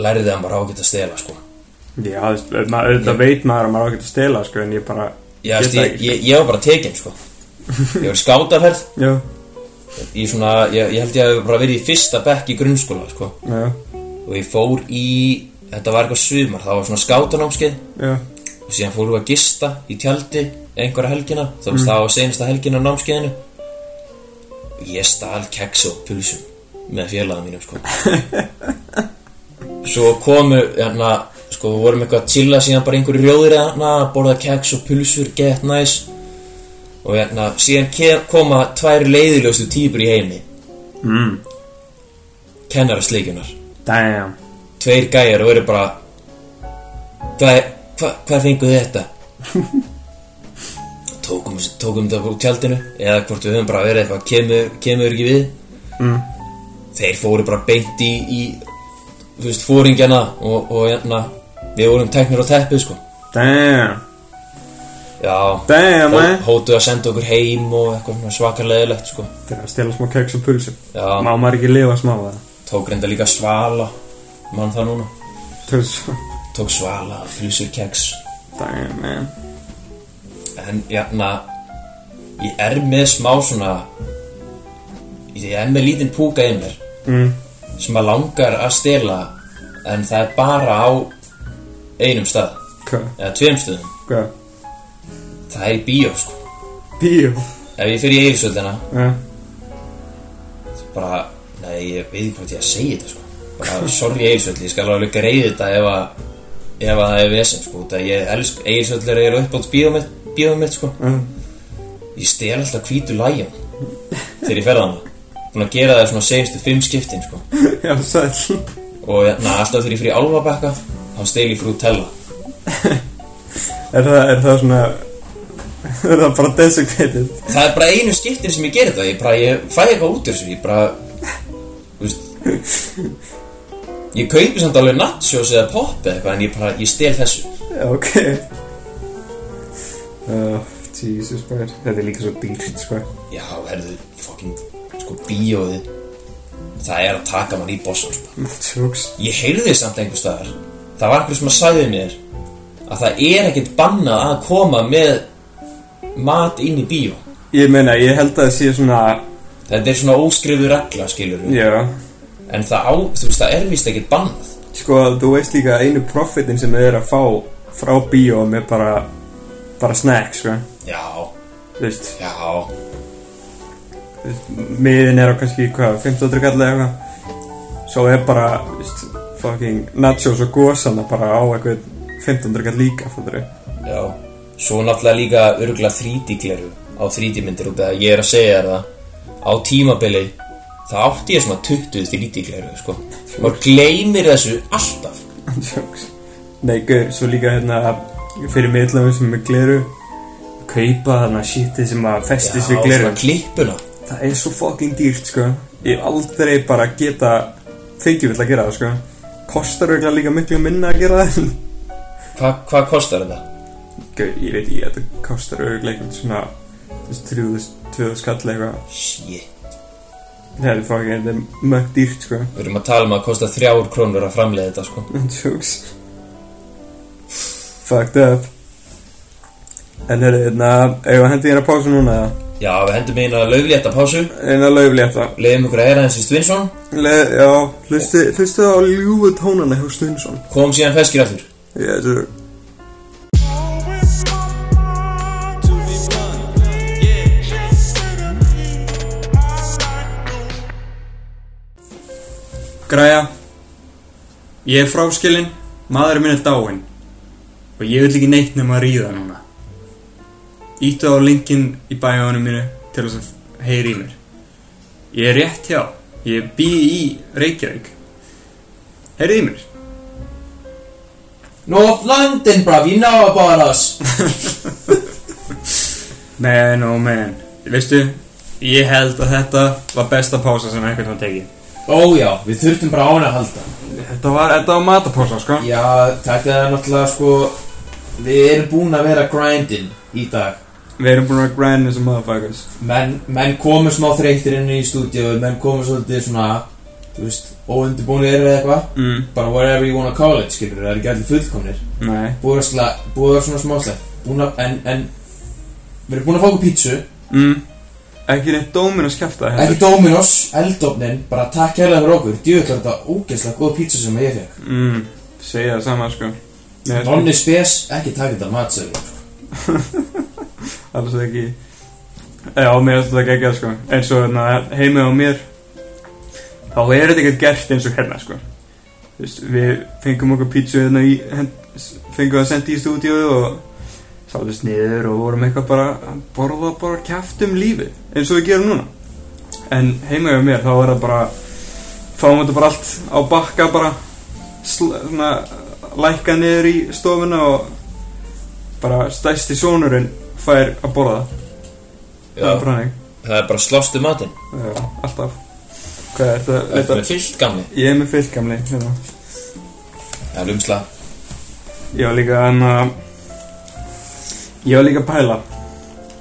C: lærði að maður á að geta stela, sko.
D: Já, þú veist, auðvitað auðvitað veit maður að maður á ekki að stela, sko En ég bara,
C: Já,
D: get
C: veist,
D: það
C: ég,
D: ekki,
C: ég, ég var bara tekinn, sko. Ég var í skátaferð
D: sko. Já,
C: í svona, ég, ég held ég að bara verið í fyrsta bekk í grunnskóla, sko.
D: já,
C: Og ég fór í, þetta var eitthvað sumar, það var svona skátanámskeið
D: já,
C: og síðan fórum við að gista í tjaldi einhverja helgina, þá veist það var senasta helgina á námskeiðinu ég stal keks og pulsum með félaga mínum sko svo komu hérna, sko við vorum eitthvað að chilla síðan bara einhverju rjóðir hérna, borða keks og pulsur get nice og hérna, síðan ke- koma tvær leiðiljóstu týpur í heimi
D: mm,
C: kennarasleikjunar
D: damn
C: tveir gæjar og eru bara hvað, hva, hvað fenguð þið þetta? tókum, tókum þetta úr tjaldinu eða hvort við höfum bara verið eitthvað kemur, kemur ekki við þeir fóru bara beint í, í þú veist, fóringjana og, og hérna, við vorum teknir á teppið sko
D: Damn,
C: já,
D: damn,
C: hó,
D: eh
C: hótuð að senda okkur heim og eitthvað svakarleðilegt sko
D: Þeir eru að stela smá keks og pulsu
C: Já.
D: Má maður ekki lifa smá að það
C: tók reynda líka svala mann það núna,
D: Þú veist, svo-
C: tók svala, flýsur keks
D: Damn, man
C: en jæna ég er með smá svona ég er með lítinn púka í mér
D: mm,
C: sem að langar að stela en það er bara á einum stað
D: Hvað,
C: eða tveim stöðum,
D: hvað,
C: það er í bíó sko.
D: bíó
C: ef ég fyrir í eigisöldina
D: Já,
C: bara, nei, ég veit ekki hvað ég að segja þetta sko. bara, sorry eigisöld, ég skal alveg greiði þetta ef að ef að það er vesen, sko, það ég elsk eigisöld er eiginlega uppátt bíóið mitt, bíó mitt sko.
D: já,
C: Ég stel alltaf hvítu lægjum Þegar ég ferða hana Búin að gera það svona seinustu fimm skiptin sko.
D: já, sæll
C: Og na, alltaf þegar ég fyrir álfabekka Þá stel ég frú tella
D: Er það, er það svona Er það bara designated
C: Það er bara einu skiptin sem ég gerir það Ég, bara, ég fæ eitthvað út úr þessu Ég bara þú veist, Ég kaupi samt alveg nachos eða pop eða eitthvað En ég, bara, ég stel þessu
D: Já, ok uh, Jesus Christ Þetta er líka svo dýrt, sko
C: Já, herðu, fucking, sko, bíóði Það er að taka mann í bossan sko.
D: Tjóks
C: Ég heyrði samt einhver staðar Það var einhver sem að sagði mér að það er ekkert bannað að koma með mat inn í bíó
D: Ég meina, ég held að það sé svona
C: Þetta er svona óskrifu regla, skilur við
D: Já
C: En það, á, þú veist, það er vist ekkert bannað
D: Sko, þú veist líka að einu profitin sem þau eru að fá Frá bíó með bara Bara snacks, sko
C: Já,
D: Þú veist,
C: já,
D: þú veist, miðin er á kannski, hvað, 15 kallið eitthvað Svo er bara, þú veist, fucking nachos og gósana bara á eitthvað 15 kall líka, fattur við
C: já Svo náttúrulega líka örgulega 3D-gleru á 3D-myndir út að ég er að segja þér það Á tímabili, það átti ég svona 20 3D-gleru, sko Og gleymir þessu alltaf
D: Sjóks Nei, gaur, svo líka hérna fyrir meðlami sem er með gleru kaupa þarna shitið sem að festist við gleru
C: svona klippuna
D: Það er svo fucking dýrt, sko Ég hef aldrei bara geta fengið vill að gera það, sko Kostar auðvitað líka miklu minna að gera það
C: Hva, Hvað kostar þetta?
D: Gaur, ég veit ekki, þetta kostar auðvitað einhvern svona þú veist, 3000 skall eitthvað
C: Shit
D: Það er fucking, þetta er mörg dýrt, sko
C: Við erum að tala um að kosta þrjár krónur að framleiða þetta sko
D: Jokes Fucked up En herri, hérna, eigum að hendi hérna pásu núna eða?
C: Já, við hendum eina lauflétta pásu
D: Eina lauflétta
C: Leiðum ykkur að heyra hans í Stvinsson
D: Le, Já, hlustu, hlustu á ljúfu tónana hjá Stunnsson
C: Kom síðan feskir aftur
D: Yes, sir Græja Ég er fráskilinn Maðurinn minn er dáinn Og ég vil ekki neitt nema að ríða núna Ítu á linkin í bæjónum mínu Til þess að heyri í mér Ég er rétt hjá Ég bý í Reykjavík Heyrið í mér
C: North London, bruv, you know about us
D: Man, oh man Veistu, ég held að þetta var besta pása sem einhvern veginn tekið
C: Ó já, við þurftum bara á hana að halda
D: Þetta var, þetta var matapása, sko
C: Já, þetta er náttúrulega sko
G: Við erum búin að vera grindin í dag
D: Við erum búin að grind eins og motherfuckers
G: Menn, menn komu smá þreytir inn í stúdíu Menn komu svolítið svona Þú veist, óundibúinir eða eitthvað
D: mm.
G: Bara whatever you wanna call it, skilur Það er ekki allir fullkomnir
D: Nei
G: Búið að sla- búið að vera svona smáslegt Búin að, en, en Við erum búin að fá okkur pítsu
D: mm. Ekki neitt dómin að skjafta
G: Ekki Dominos, eldofnin Bara takk hérlega fyrir okkur Djöfell er þetta ógeðslega góð pítsu sem ég fekk
D: mm. Segja það sama sko Nei, sko,
G: Nonni spes, ekki taka þetta matsölu
D: Alls ekki Já, mér er þetta ekki sko En svo na, heimið á mér Þá er þetta ekkert gert eins og hérna sko Þú veist, Við fengum okkur pítsu hérna í hend, Fengum það sent í stúdíu Og sáttist niður og vorum eitthvað bara að Borða bara kjaft um lífið Eins og við gerum núna En heimið á mér þá er það bara Fáum þetta bara allt á bakka bara sl, svona, Lækka niður í stofuna Og bara stæsti sonurinn fær að borða það er bara hannig
G: Það er bara slástu matinn
D: Já, alltaf Hvað er þetta?
G: Þetta er
D: Leita-
G: fyllt gamli
D: Ég er með fyllt gamli hérna.
G: Það er lumsla
D: Ég var líka en að Ég var líka að pæla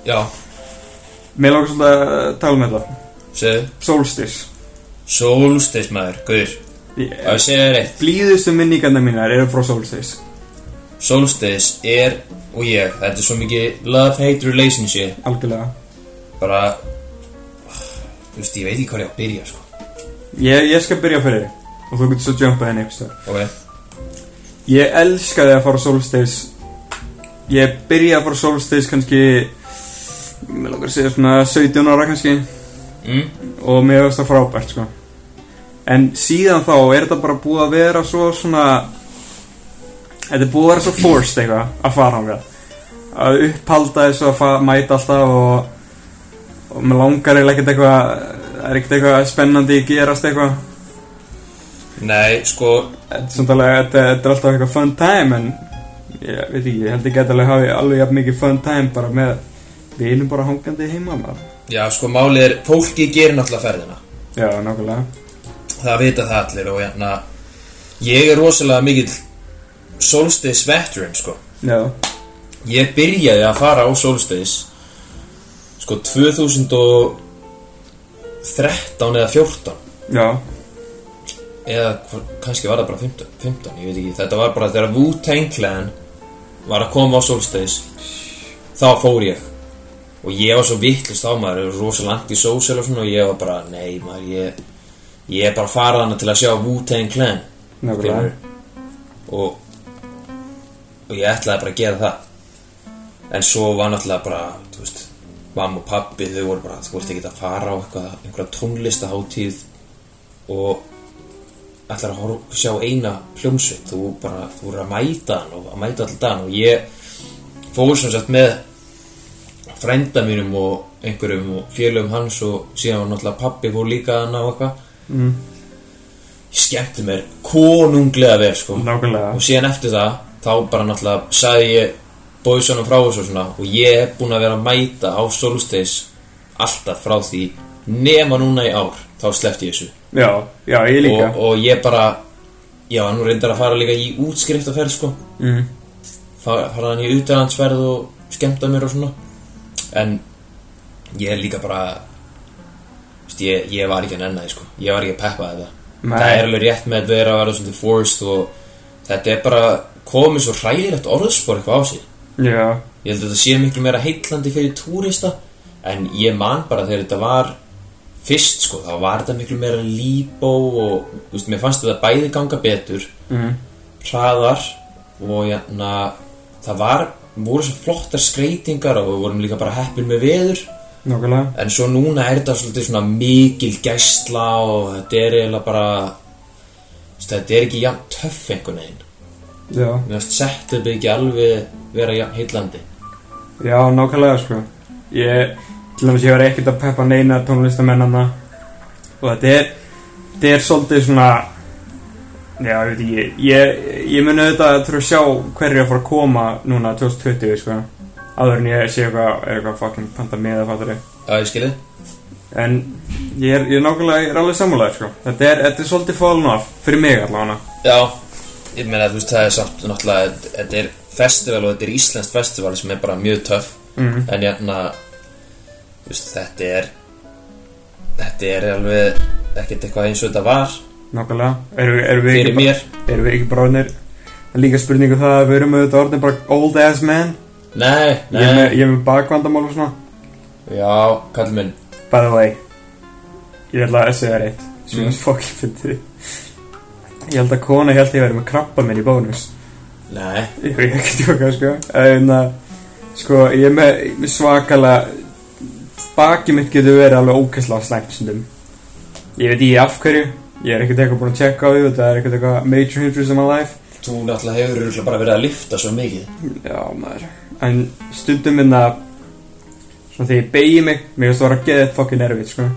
G: Já,
D: Mér langar svolítið að tala um þetta
G: segðu
D: Solstis
G: Sólstis maður, guður Það
D: Ég-
G: sé þér eitt
D: Blíðustu minningarna mínar eru frá Solstis
G: Sólstis er og ég Þetta er svo mikið love-hate relationship
D: Algjörlega
G: Bara Þú veist, ég veit ekki hvað ég á að byrja sko.
D: Ég, ég skal byrja fyrir þig Og þú getur svo jumpað henni einhvers þar
G: Ok,
D: Ég elskaði að fara á Solstis Ég byrjaði að fara á Solstis kannski Mér langar að segja svona 17 ára kannski
G: mm,
D: og mér finnst það frábært sko. en síðan þá er þetta bara búið að vera svo svona þetta er búið að vera svo forced eitthvað að fara hann að upphalda þessu að fa- mæta alltaf og, og mér langar eiginlega ekkert eitthvað það er ekkert eitthvað spennandi að gerast eitthvað
C: Nei, sko,
D: þetta, er samt alveg- þetta, þetta er alltaf eitthvað fun time en ég veit ekki, ég held ekki að alveg hafi alveg jafn mikið fun time bara með við erum bara hangandi heima maður.
C: já, sko, málið er, fólki gerir náttúrulega ferðina.
D: já, nákvæmlega
C: Það vita það allir og hérna, ég er rosalega mikill solstice veteran, sko.
D: já,
C: Ég byrjaði að fara á solstice, sko, 2013 eða 14,
D: já,
C: eða hv- kannski var það bara 15, 15, ég veit ekki, þetta var bara þegar Wu-Tang Clan var að koma á solstice, þá fór ég. Og ég var svo vittlust á maður, ég var rosalega anti-social og svona og ég var bara, nei maður, ég, ég er bara að fara hana til að sjá Wu-Tang Clan.
D: nákvæmlega
C: Skilurðu? Og, og ég ætlaði bara að gera það. En svo var náttúrulega bara, þú veist, mamma og pabbi, þau voru bara, þú veist ekki að fara á eitthvað, einhverja tónlistaháttíð og ætlar að horf, sjá eina hljómsveit, þú bara, þú voru að mæta hann og að mæta alltaf hann og ég fór sem sagt með frænda mínum og einhverjum og félögum hans og síðan var náttúrulega pabbi fór líka hann á eitthvað mm. ég skemmti mér konunglega vel sko
D: Nákvæmlega.
C: og síðan eftir það þá bara náttúrulega sagði ég bóðsjónum frá þessu og svona og ég er búin að vera að mæta á solsteis alltaf frá því nema núna í ár þá sleppti ég þessu
D: Já, já, ég líka
C: og, og ég bara já, nú reyndar að fara líka í útskriftaferð sko,
D: mm.
C: Fa- fara hann í utæðansferð og skemmta mér og svona en ég er líka bara veist, ég, ég var ekki að nenna því sko, ég var ekki að peppa þetta
D: Nei.
C: það er alveg rétt með að vera að vera svona forced og þetta er bara komið svo hræðilegt orðspor eitthvað á sig
D: Já,
C: ég held að þetta sé miklu meira heitlandi fyrir túrista en ég man bara þegar þetta var fyrst sko, þá var þetta miklu meira líbó og þú veist, mér fannst þetta bæði ganga betur
D: mm.
C: hraðar og jæna, það var, voru svo flottar skreitingar og við vorum líka bara heppin með veður
D: nákvæmlega
C: en svo núna er þetta svolítið svona mikil gæsla og þetta er eiginlega bara þú veist, þetta er ekki jafn töff einhvern veginn
D: Já,
C: mér finnst sett upp ekki alveg vera jafn heitlandi
D: já nákvæmlega sko Ég, til dæmis ég var ekkert að peppa neina tónlistamennana Og þetta er, þetta er svolítið svona Já, ég veit ekki Ég, ég mun auðvitað að þurfa að sjá hverju að fara að koma núna 2020 sko Áður en ég sé eitthvað, er eitthvað fucking panta með að fattari
C: Já, ég skilið
D: En ég er, ég er nákvæmlega, ég er alveg sammálaður sko Þetta er, þetta er svolítið fallen off, fyrir mig allavega
C: Já, ég meina þú veist það er samt náttúrulega þetta er festival og þetta er íslenskt festival sem er bara mjög töff
D: Mhm.
C: mm. en jæna veist, þetta er þetta er alveg ekkert eitthvað eins og þetta var
D: Nákvæmlega, erum við, erum við
C: Fyrir
D: ekki
C: mér.
D: bara, erum við ekki bara orðnir það er líka spurningu það að við erum auðvitað orðnir bara old ass man
C: nei,
D: ég er, með,
C: nei,
D: ég er með bakvandamál og svona
C: já, kall minn
D: by the way ég ætla að segja þér eitt sem mm. fokkin fyndi ég held að kona held ég verið með krabba minn í bónus
C: nei,
D: ég er ekki tjóka sko en að sko ég er með svakalega bakið mitt getur verið alveg ókesslega slæmt stundum ég veit ekki af hverju ég er ekkert eitthvað búin að checka á því það er ekkert eitthvað major hindrance in my life
C: þú náttúrulega hefur örugglega bara verið að lifta svo mikið
D: Já, maður En stundum minna Svona þegar ég beigi mig Mér finnst það að geða þetta fokkin erfið, sko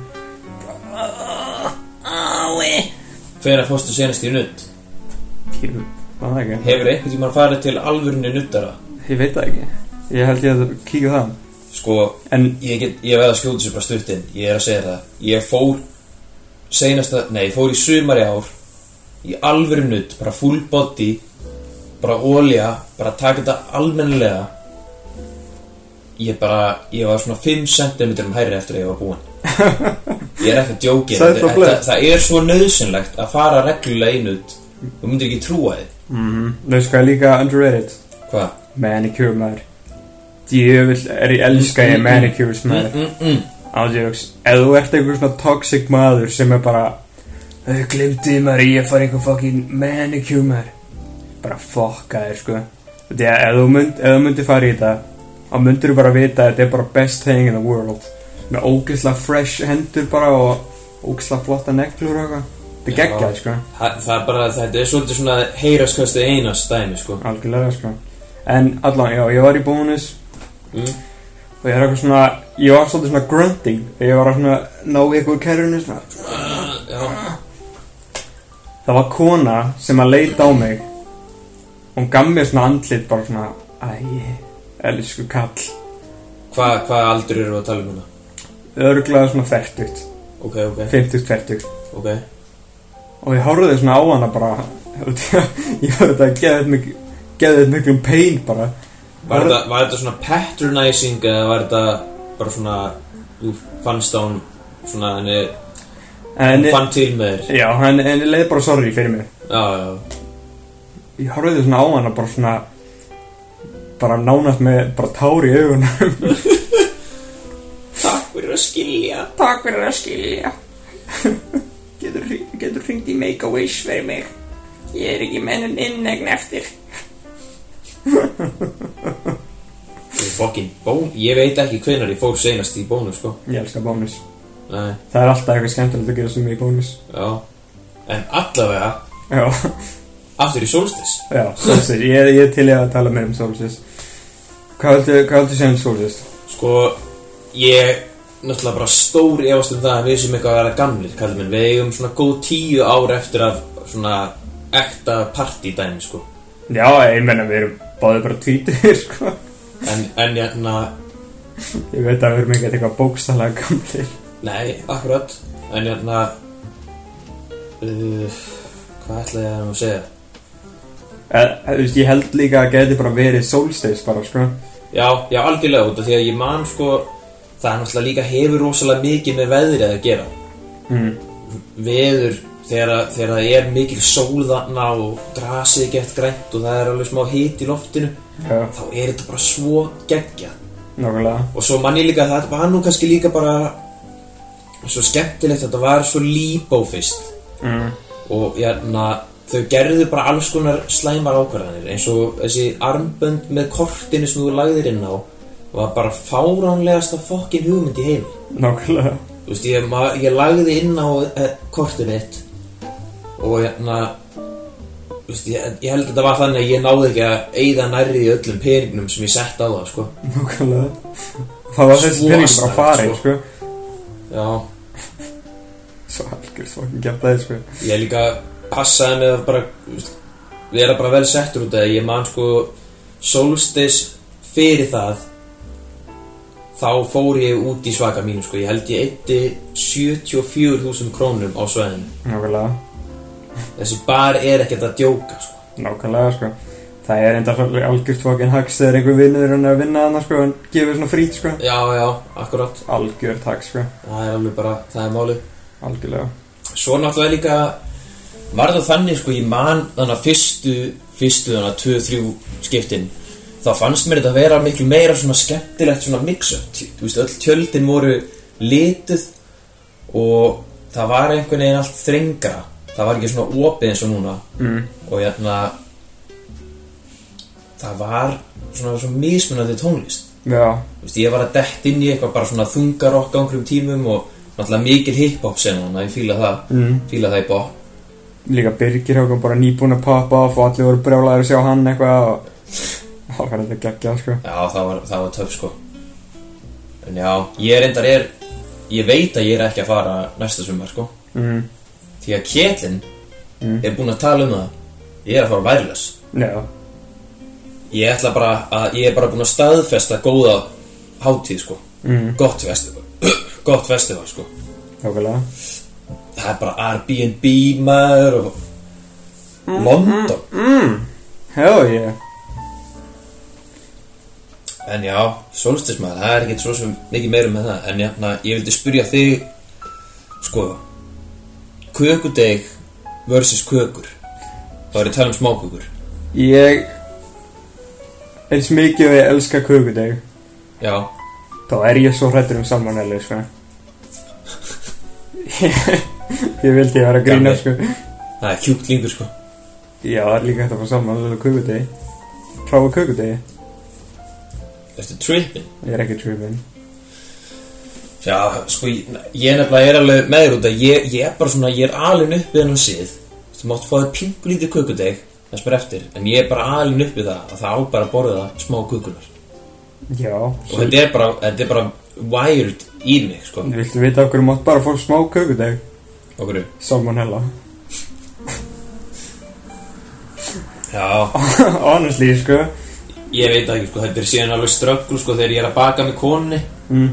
C: hvenær fórstu senast í nutt
D: Ég man það ekki
C: hefur einhvern tímann farið til alvörinu nuttara
D: Ég veit það ekki Ég held ég að kíkja á það
C: sko,
D: En
C: ég, get, ég veð að skjóta sér bara stutt inn ég er að segja það ég fór seinasta, nei, ég fór í sumari ár í alvöru nutt, bara full body bara ólja, bara taka þetta almennilega ég bara, ég var svona 5 cm hærri eftir að ég var búinn ég er ekki að djóki
D: Sæt og
C: þetta,
D: blöð.
C: þetta, það er svo nöðsynlegt að fara reglulega í nutt þú myndir ekki trúa þið
D: Nau sko, ég líka underrated
C: hvað?
D: Manicure, maður Djöfull er ég elska ég manicures, maður
C: Mm, mm.
D: Ádjóks, ef þú ert einhver svona toxic maður sem er bara Þau glimtið maður, ég fari einhver fucking manicure maður Bara fokka þér sko Því að ef þú, mynd, ef þú myndir fara í þetta þá myndir þú bara vita að þetta er bara best thing in the world Með ógeðslega fresh hendur bara og ógeðslega flotta neglur og eitthvað Þetta er
C: Já.
D: geggjað sko
C: Það, það er bara, þetta er svolítið svona heyraskastið einast dæmi, sko
D: Algjörlega sko En allan, já, ég var í bónus
C: Mm.
D: Og ég er eitthvað svona Ég var svolítið svona grunting Ég var að svona ná í eitthvað kerrinu svona
C: Já,
D: Það var kona sem að leita á mig Hún gaf mér svona andlit bara svona Æ, elsku kall
C: hvað hva aldur eru að tala um hana?
D: Örglega svona færtugt
C: Ok, ok,
D: 50 færtugt
C: ok
D: Og ég horfði svona á hana bara Ég var þetta að geða þetta mikið Geða þetta miklum pain bara
C: Var þetta, var þetta svona patronizing eða var þetta bara svona Þú fannst á hún svona henni
D: En
C: Hún fann til með þér
D: Já, en, en ég leið bara sorry fyrir mig
C: Já, já,
D: Ég horfði svona á hana bara svona Bara nánast með bara tár í augunum
C: takk fyrir að skilja
D: Takk fyrir að skilja Getur, getur hringt í Make-A-Wish fyrir mig Ég er ekki mennum innegn eftir
C: Fokkin bón, ég veit ekki hvenar ég fór seinast í bónu, sko
D: Ég elska bónus
C: Nei,
D: Það er alltaf eitthvað skemmtilegt að gera sem ég í bónus
C: já En allavega,
D: Já,
C: aftur í solstis
D: já, solstis Ég, ég er til ég að tala meira um solstis Hvað heldur hvað um heldur sem solstis?
C: Sko, ég náttúrulega bara stór efast um það að við sem eitthvað að vera gamlir, kallum minn, við eigum svona góð tíu ár eftir af svona ekta partydæmi, sko.
D: Já, ég menna við erum báðið bara tvítir sko.
C: En, en hérna,
D: Ég veit að við erum ekki eitthvað bókstælega gamlir
C: nei, akkurat, en hérna, uh, hvað ætla ég að nú segja?
D: Eh, Þú veist, ég held líka að geti bara verið solstis bara, sko
C: Já, já, algjörlega út af því að ég man, sko, það er náttúrulega líka hefur rosalega mikið með veðrið að gera.
D: mm.
C: veður þegar, að- þegar það er mikil sól þarna og grasið gett grænt og það er alveg smá hit í loftinu
D: Já.
C: þá er þetta bara svo geggja
D: Nákvæmlega
C: og svo manni líka að það var nú kannski líka bara svo skemmtilegt að þetta var svo líbó fyrst
D: mm.
C: og jæna, þau gerðu bara alls konar slæmar ákvarðanir eins og þessi armbönd með kortinu sem þú lagðir inn á var bara fáránlegasta fokkin hugmynd í heimi
D: Nákvæmlega
C: Þú veist, ég, ma- ég lagði inn á e, kortið mitt og hérna þú veist, ég, ég held að þetta var þannig að ég náði ekki að eyða nærri í öllum peningnum sem ég sett á það, sko
D: Nákvæmlega Það var þessi
C: Svo
D: peningur bara
C: slæmt,
D: farið,
C: sko.
D: sko
C: Já,
D: Svo algjör svokin gæmdaði, sko
C: ég líka passaði með að bara þú veist, vera bara vel settur út af því. ég man sko solstis fyrir það þá fór ég út í svaka mínu, sko ég held ég eitti 74.000 krónum á sveðinu
D: Nákvæmlega
C: þessi bar er ekkert að djóka, sko
D: Nákvæmlega, sko Það er enda alveg algjört fokkin haks þegar einhver vinnur hann er að vinna hann sko en gefur svona frít sko
C: Já, já, akkurát
D: Algjört haks sko,
C: Það er alveg bara, það er málið
D: algjörlega
C: Svo náttúrulega líka var það þannig sko ég man þannig að fyrstu, fyrstu þannig að 2-3 skiptin þá fannst mér þetta að vera miklu meira svona skemmtilegt svona mix-up, Tj- þú veist öll tjöldin voru lituð og það var einhvern veginn allt þrengra, það var ekki svona opið eins og núna mm. og hérna það var svona, svona mismunandi tónlist
D: Já,
C: Þú veist, ég var að dett inn í eitthvað bara svona þungarokk á einhverjum tímum og náttúrulega mikil hip-hop senan að ég fíla það, mm. fíla það í bótt.
D: líka Birgir hefur bara nýbúin að poppa off og allir voru brjálæðir að sjá hann eitthvað og það var þetta geggjað sko
C: Já, það var, það var töf sko. En já, ég er endar er, ég veit að ég er ekki að fara næsta sumar sko.
D: mm.
C: Því að Kjetlin er búin að tala um það, ég er að fara værlös.
D: Já,
C: Ég ætla bara að, ég er bara búin að staðfesta góða hátíð sko. Mm. Gott festival, gott festival sko.
D: þákvælega
C: það er bara Airbnb maður og London
D: Hell yeah
C: en já, solstismæður, það er ekkert svo sem mikið meira með það, en jafna, ég vildi spyrja þig sko kökudeg versus kökur þá er ég að tala um smákökur
D: Ég eins mikið og ég elska kökudeg
C: já,
D: þá er ég svo hrættur um salmonellu sko Ég vildi ég var að grína
C: Gamli.
D: sko
C: það er kjúklingur sko
D: Já, það er líka hægt að fá salmonellu á kökudegi Prófa kökudegi
C: eftir trippin
D: Ég er ekki trippin
C: já, sko, ég, ég nefnilega er alveg með þér út að ég, ég er bara svona, ég er alin upp við hennan síð þú mátt fá þér pinkulítið kökudeg það spyr eftir, en ég er bara alin upp við það að það á bara að borða smá kökunar
D: Já
C: og þetta er bara, þetta er bara wired í mig sko
D: Viltu vita okkur mátt bara fór smá kökudeg
C: okkur
D: Salmonella
C: já,
D: Honestly sko
C: ég veit það ekki sko þetta er síðan alveg ströggl sko þegar ég er að baka með konni
D: mm.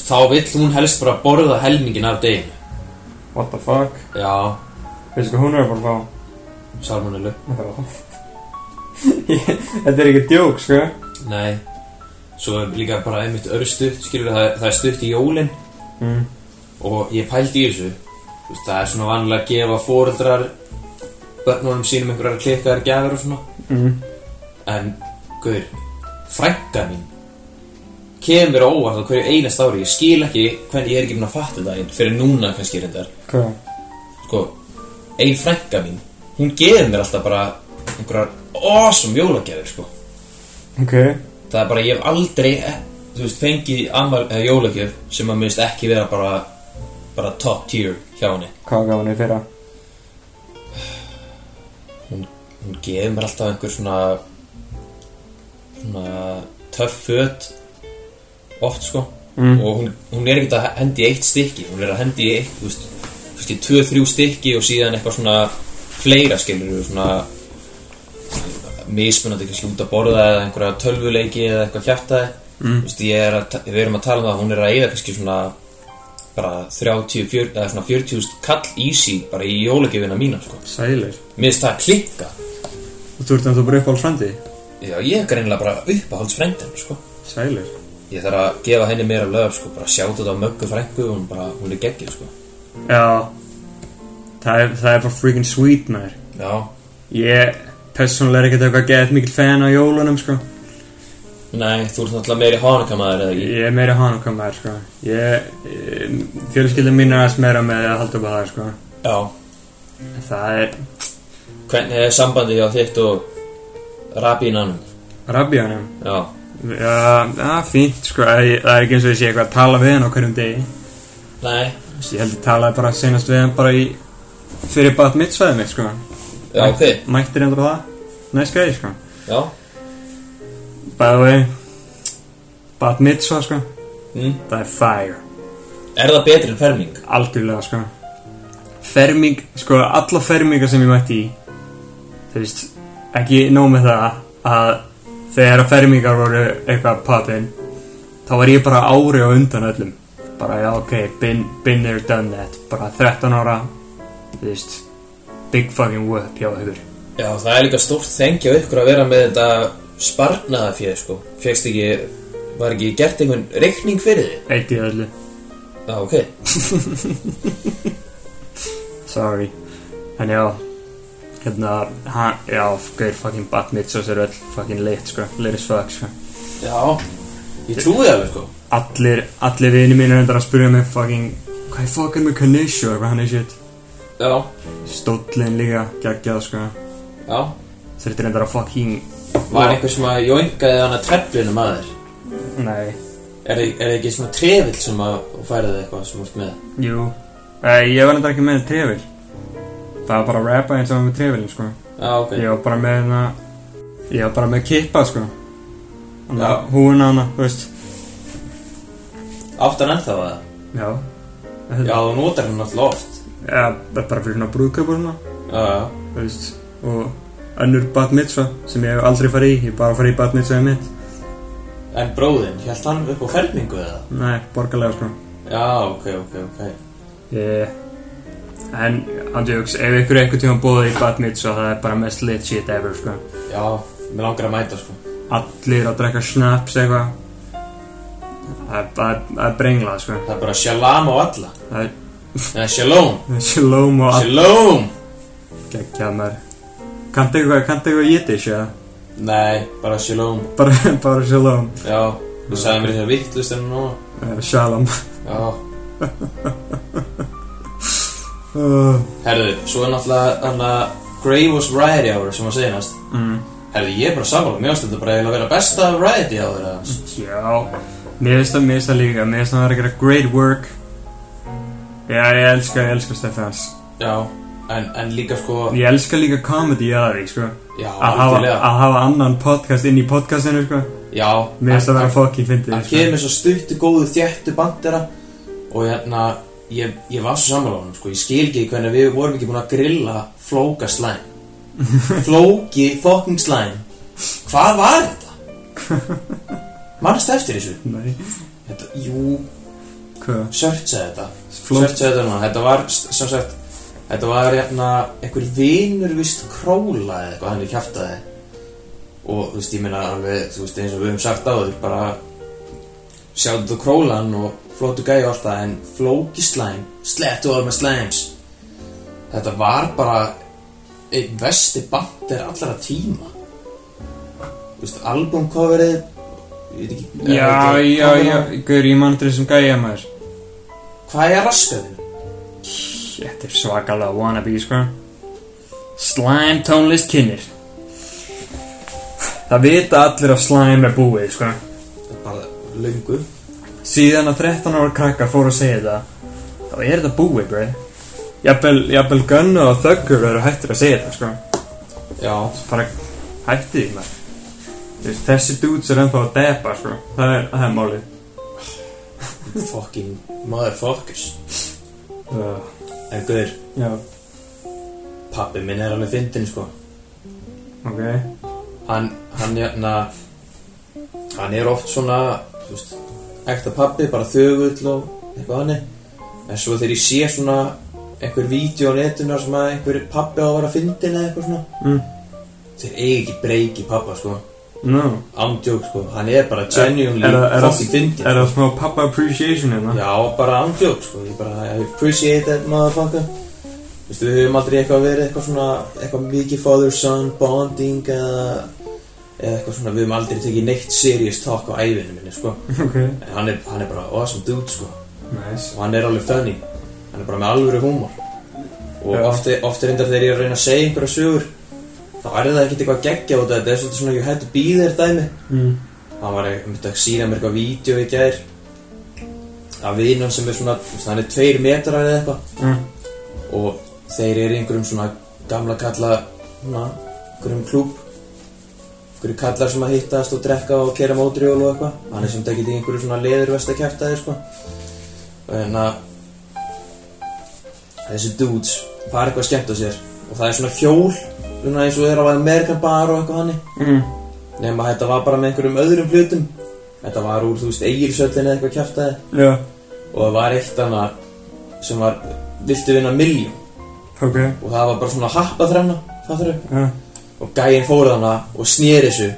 C: þá vill hún helst bara borða helmingin af deginu
D: What the fuck
C: já,
D: Veistu hvað hún er að fara að
C: salmonellu
D: fá Já. Þetta er ekki djók sko
C: nei, svo er líka bara einmitt örstutt, skilur það, það er stutt í jólin
D: Mm.
C: og ég pældi í þessu Þú veist, það er svona vanlega að gefa fóreldrar börnunum sínum einhverjar klikkaðar gjafir og svona
D: mm.
C: En, guður, frænka mín kemur á óvart á hverju einast ári. Ég skil ekki hvernig ég er ekki búin að fatta þetta einn fyrir núna kannski reyndar.
D: Hvað?
C: Sko, ein frænka mín, hún gefur mér alltaf bara einhverjar awesome jólagjafir, sko.
D: Ok
C: Það er bara, ég hef aldrei, eh, þú veist, fengið amal, eh, jólagjaf sem að minnst ekki vera bara, bara top tier hjá henni.
D: Hvað gaf hann í fyrra?
C: Hún gefur mér alltaf einhver svona, svona töff föt oft, sko.
D: Mm.
C: og hún, hún er ekkert að hendi í eitt stykki hún er að hendi í eitt, þú veist kannski tvö, þrjú stykki og síðan eitthvað svona fleira skilur svona mismunandi kannski út að borða eða einhverja tölvuleiki eða eitthvað hjartaði mm. veist, ég er að, ta- við erum að tala um það að hún er að eigða kannski svona bara 30, 40, eða svona 40 kall í sín bara í jólagjöfina mína sko.
D: Sælir
C: mér finnst það að klikka
D: Og þú ert þannig að þú bara upp á alfrændi?
C: já, ég er greinilega bara uppáhaldsfrændin sko.
D: Sælir
C: ég þarf að gefa henni meira löf sko, bara sjáta þetta á möggu frængu hún, bara, hún er geggið sko.
D: Já Það er, það er bara freaking sweet maður
C: já,
D: Ég persónulega er ekkert eitthvað gett mikil fan á jólunum sko
C: Nei, þú ert náttúrulega meiri hánukamæður eða ekki
D: Ég er meira hanukam maður sko Ég, ég fjölskyldum mín er aðeins meira með að halda upp á það sko
C: Já
D: En Það er
C: Hvernig er sambandið hjá þitt og rabínanum?
D: rabjónum
C: Já
D: Já, það er fínt sko Það er- það er ekki eins og ég sé eitthvað að tala við hann á hverjum degi
C: Nei
D: Ég held ég talaði bara senast við hann bara í Fyrir bat mitt svæðið mitt sko
C: Já, ok
D: Mættir endur það Næst gæði sko
C: Já
D: By the way Bat mitt svo sko
C: mm.
D: Það er fire
C: Er það betri en ferming?
D: Algjörlega sko Ferming, sko alla fermingar sem ég mætti í Þú veist Ekki nóg með það að Þegar að fermingar voru eitthvað pappin Þá var ég bara ári og undan öllum Bara já ok Been, been there done that Bara 13 ára Þú veist Big fucking whoop hjá ykkur
C: Já, það er líka stórt þengja á ykkur að vera með þetta sparnaða fyrir, sko. Fegst ekki, var ekki gert einhvern reikning fyrir þið?
D: Eitt í öllu
C: Já, ok.
D: Sorry En já Hérna hann, Já, gauð fucking Bat Mitzos er öll fucking lit sko Lit as fuck sko
C: Já, ég trúi það alveg, sko.
D: Allir, allir vinir mínir endur að spyrja mig fucking Hvað er fucking með Kanisho og eitthvað hann er shit
C: Já,
D: Stóllin líka geggjað sko
C: já.
D: Þurftir endur að fucking
C: Var einhver sem að jóingaði hana treflinu maður?
D: Nei
C: Er, er það ekki svona trefill sem að færa það eitthvað sem úrt með?
D: Jú eh, Ég var endur ekki með trefil Það var bara að rappa eins og var með trefilin sko
C: Já, ok.
D: Ég var bara með hérna Ég var bara með kippa sko
C: Já.
D: Hún hana, þú veist
C: Áttan ennþá að það?
D: Já
C: Já, þú notar hann alltaf oft.
D: Já, það er bara fyrir svona brúðkaup og svona,
C: Já, já.
D: þú veist, og önnur bat mitzva sem ég hef aldrei farið í, ég hef bara farið í bat mitzva í mitt.
C: En bróðinn, held hann upp á fermingu eða?
D: Nei, borgarlega sko.
C: Já, ok, ok, ok.
D: Ég... Eh, En, andjóks, ef ykkur er einhvern tíma bóðið í bat mitzva, það er bara mest lit shit ever sko.
C: Já, mér langar að mæta, sko.
D: Allir að drekka snaps eitthvað. Það er, það er, það er brenglað sko.
C: Það er bara shalom á alla.
D: Það er
C: Nei, shalom.
D: það er shalom og allt
C: Shalom!
D: geggjað maður. Kanntu eitthvað, kanntu eitthvað jiddish eða?
C: Nei, bara shalom.
D: Bara, bara shalom.
C: Já, þú sagði mér þetta vittlust en nú.
D: Uh, shalom.
C: Já,
D: Uh,
C: herðu, svo er náttúrulega hann að Grey was Variety Hour sem að segja næst.
D: mm.
C: Herðu, ég er bara sammála, mér finnst þetta bara eiginlega að vera besta Variety Hour eða
D: Mm.
C: hans.
D: Já, mér finnst það, mér finnst það líka, mér finnst það að gera great work Já, ég elska, ég elska Stefans
C: Já, en, en líka sko,
D: Ég elska líka comedy að því, sko
C: já,
D: Að hafa,
C: algjörlega.
D: að hafa annan podcast inn í podcastinu, sko
C: Já,
D: Mér finnst það að vera sko. fokkin
C: hann
D: fyndið,
C: kemur svo stuttu góðu þjættu bandera og hérna, ég, ég var svo sammála honum, sko, ég skil ekki hvernig við vorum ekki búin að grilla flóka slæm. Flóki fucking slæm. Hvað var þetta? Manstu eftir þessu?
D: sko Nei,
C: Þetta, jú,
D: hvað?
C: searchaði þetta
D: Flók-
C: Searchaði þetta núna, þetta var s- sem sagt Þetta var hérna einhver vinur vist króla eða eitthvað, hann er kjaftaði og þú veist, ég meina alveg, þú veist, eins og við höfum sagt áður bara sjáttu þú królan og flótu gæja og allt það en flóki slæm, slettu all með slæms Þetta var bara einn vesti bandir allara tíma Þú veist, albumcoverið ég veit ekki eh,
D: Já, já,
C: coverið
D: já,
C: á-
D: gaur, ég mann til þessum gæja maður
C: Hvað er raskaðinu?
D: Þetta er svakalega wannabe, sko Slime tónlist kynir Það vita allir að slime er búið, sko
C: bara löngu
D: síðan að 13 ára krakkar fóru að segja þetta þá er þetta búið, brey jafnvel, jafnvel gönnu og þöggur eru hættir að segja þetta, sko
C: já,
D: bara hætti því maður Þú veist, þessi dudes er ennþá að depa, sko það er, það er málið
C: fucking motherfuckers
D: uh,
C: en guður,
D: já,
C: pappi minn er alveg fyndin sko
D: ok
C: hann, hann jæna hann er oft svona þú veist, ekta pappi, bara þögull og eitthvað hannig en svo þegar ég sé svona einhver vídeo á netinu þar sem að einhver pappi á að vera fyndin eða eitthvað svona
D: Mm.
C: þeir eigi ekki breyki pappa sko
D: no.
C: ándjók sko, hann er bara genuinely
D: er, er,
C: fucking
D: er,
C: fyndin
D: er það smá pappa appreciation hérna
C: Já, bara ándjók, sko, ég bara I appreciate that motherfucker Vistu, við höfum aldrei eitthvað verið eitthvað svona eitthvað mikið father-son bonding eða eða eitthvað svona, við höfum aldrei tekið neitt serious talk á ævinu minni, sko
D: ok,
C: en hann er, hann er bara awesome dude, sko
D: nice
C: og hann er alveg funny, hann er bara með alvöru húmor og
D: Já.
C: oft, oft er reyndar þegar ég er að reyna að segja einhverja sögur þá er það ekkert eitthvað geggja út af þetta, þetta er svolítið svona ég hættu býð þér dæmi
D: mm.
C: hann var einmitt að sína mér eitthvað vídeo í gær af vinan sem er svona þú veist, hann er tveir metrar eða eitthvað
D: Mm.
C: og þeir eru í einhverjum svona gamla kalla svona, einhverjum klúb einhverju kallar sem að hittast og drekka og kera mótriðjól og eitthvað hann er sem tekið í einhverju svona leðurvest að kæfta þér sko Hérna, en að þessi dudes fara eitthvað skemmt á sér og það er svona hjól svona eins og þeir á American Bar og eitthvað hannig
D: Mm.
C: Nefn að þetta var bara með einhverjum öðrum hlutum Þetta var úr, þú veist, eigilsöllin eða eitthvað kjaftaði
D: já,
C: Og það var eitt annað sem var Viltu vinna miljón
D: ok
C: Og það var bara svona happa þrenna fattur
D: Já.
C: og gæinn fór þarna og snýr þessu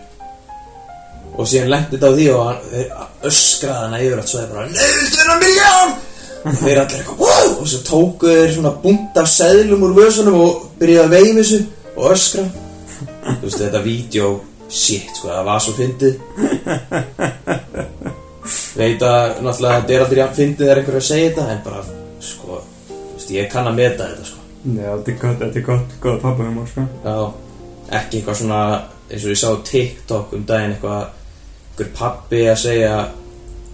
C: og síðan lendi þetta á því og hann þeir öskraði hana yfir allt svo þeir bara NEUTUNA MILJÁN og þeir allir eitthvað wow! og svo tóku þeir svona búnt af seðlum úr vösunum og byrjaði að veifa þessu og öskra þú veist þetta vídeo shit sko það var svo fyndið veit að náttúrulega þetta er aldrei jafn fyndið þegar einhverju að segja þetta en bara sko þú veist ég kann að meta þetta sko
D: Nei, þetta er gott, þetta er gott, gott pappahumor, sko.
C: Já, ekki eitthvað svona eins og ég sá á TikTok um daginn eitthvað einhver pappi að segja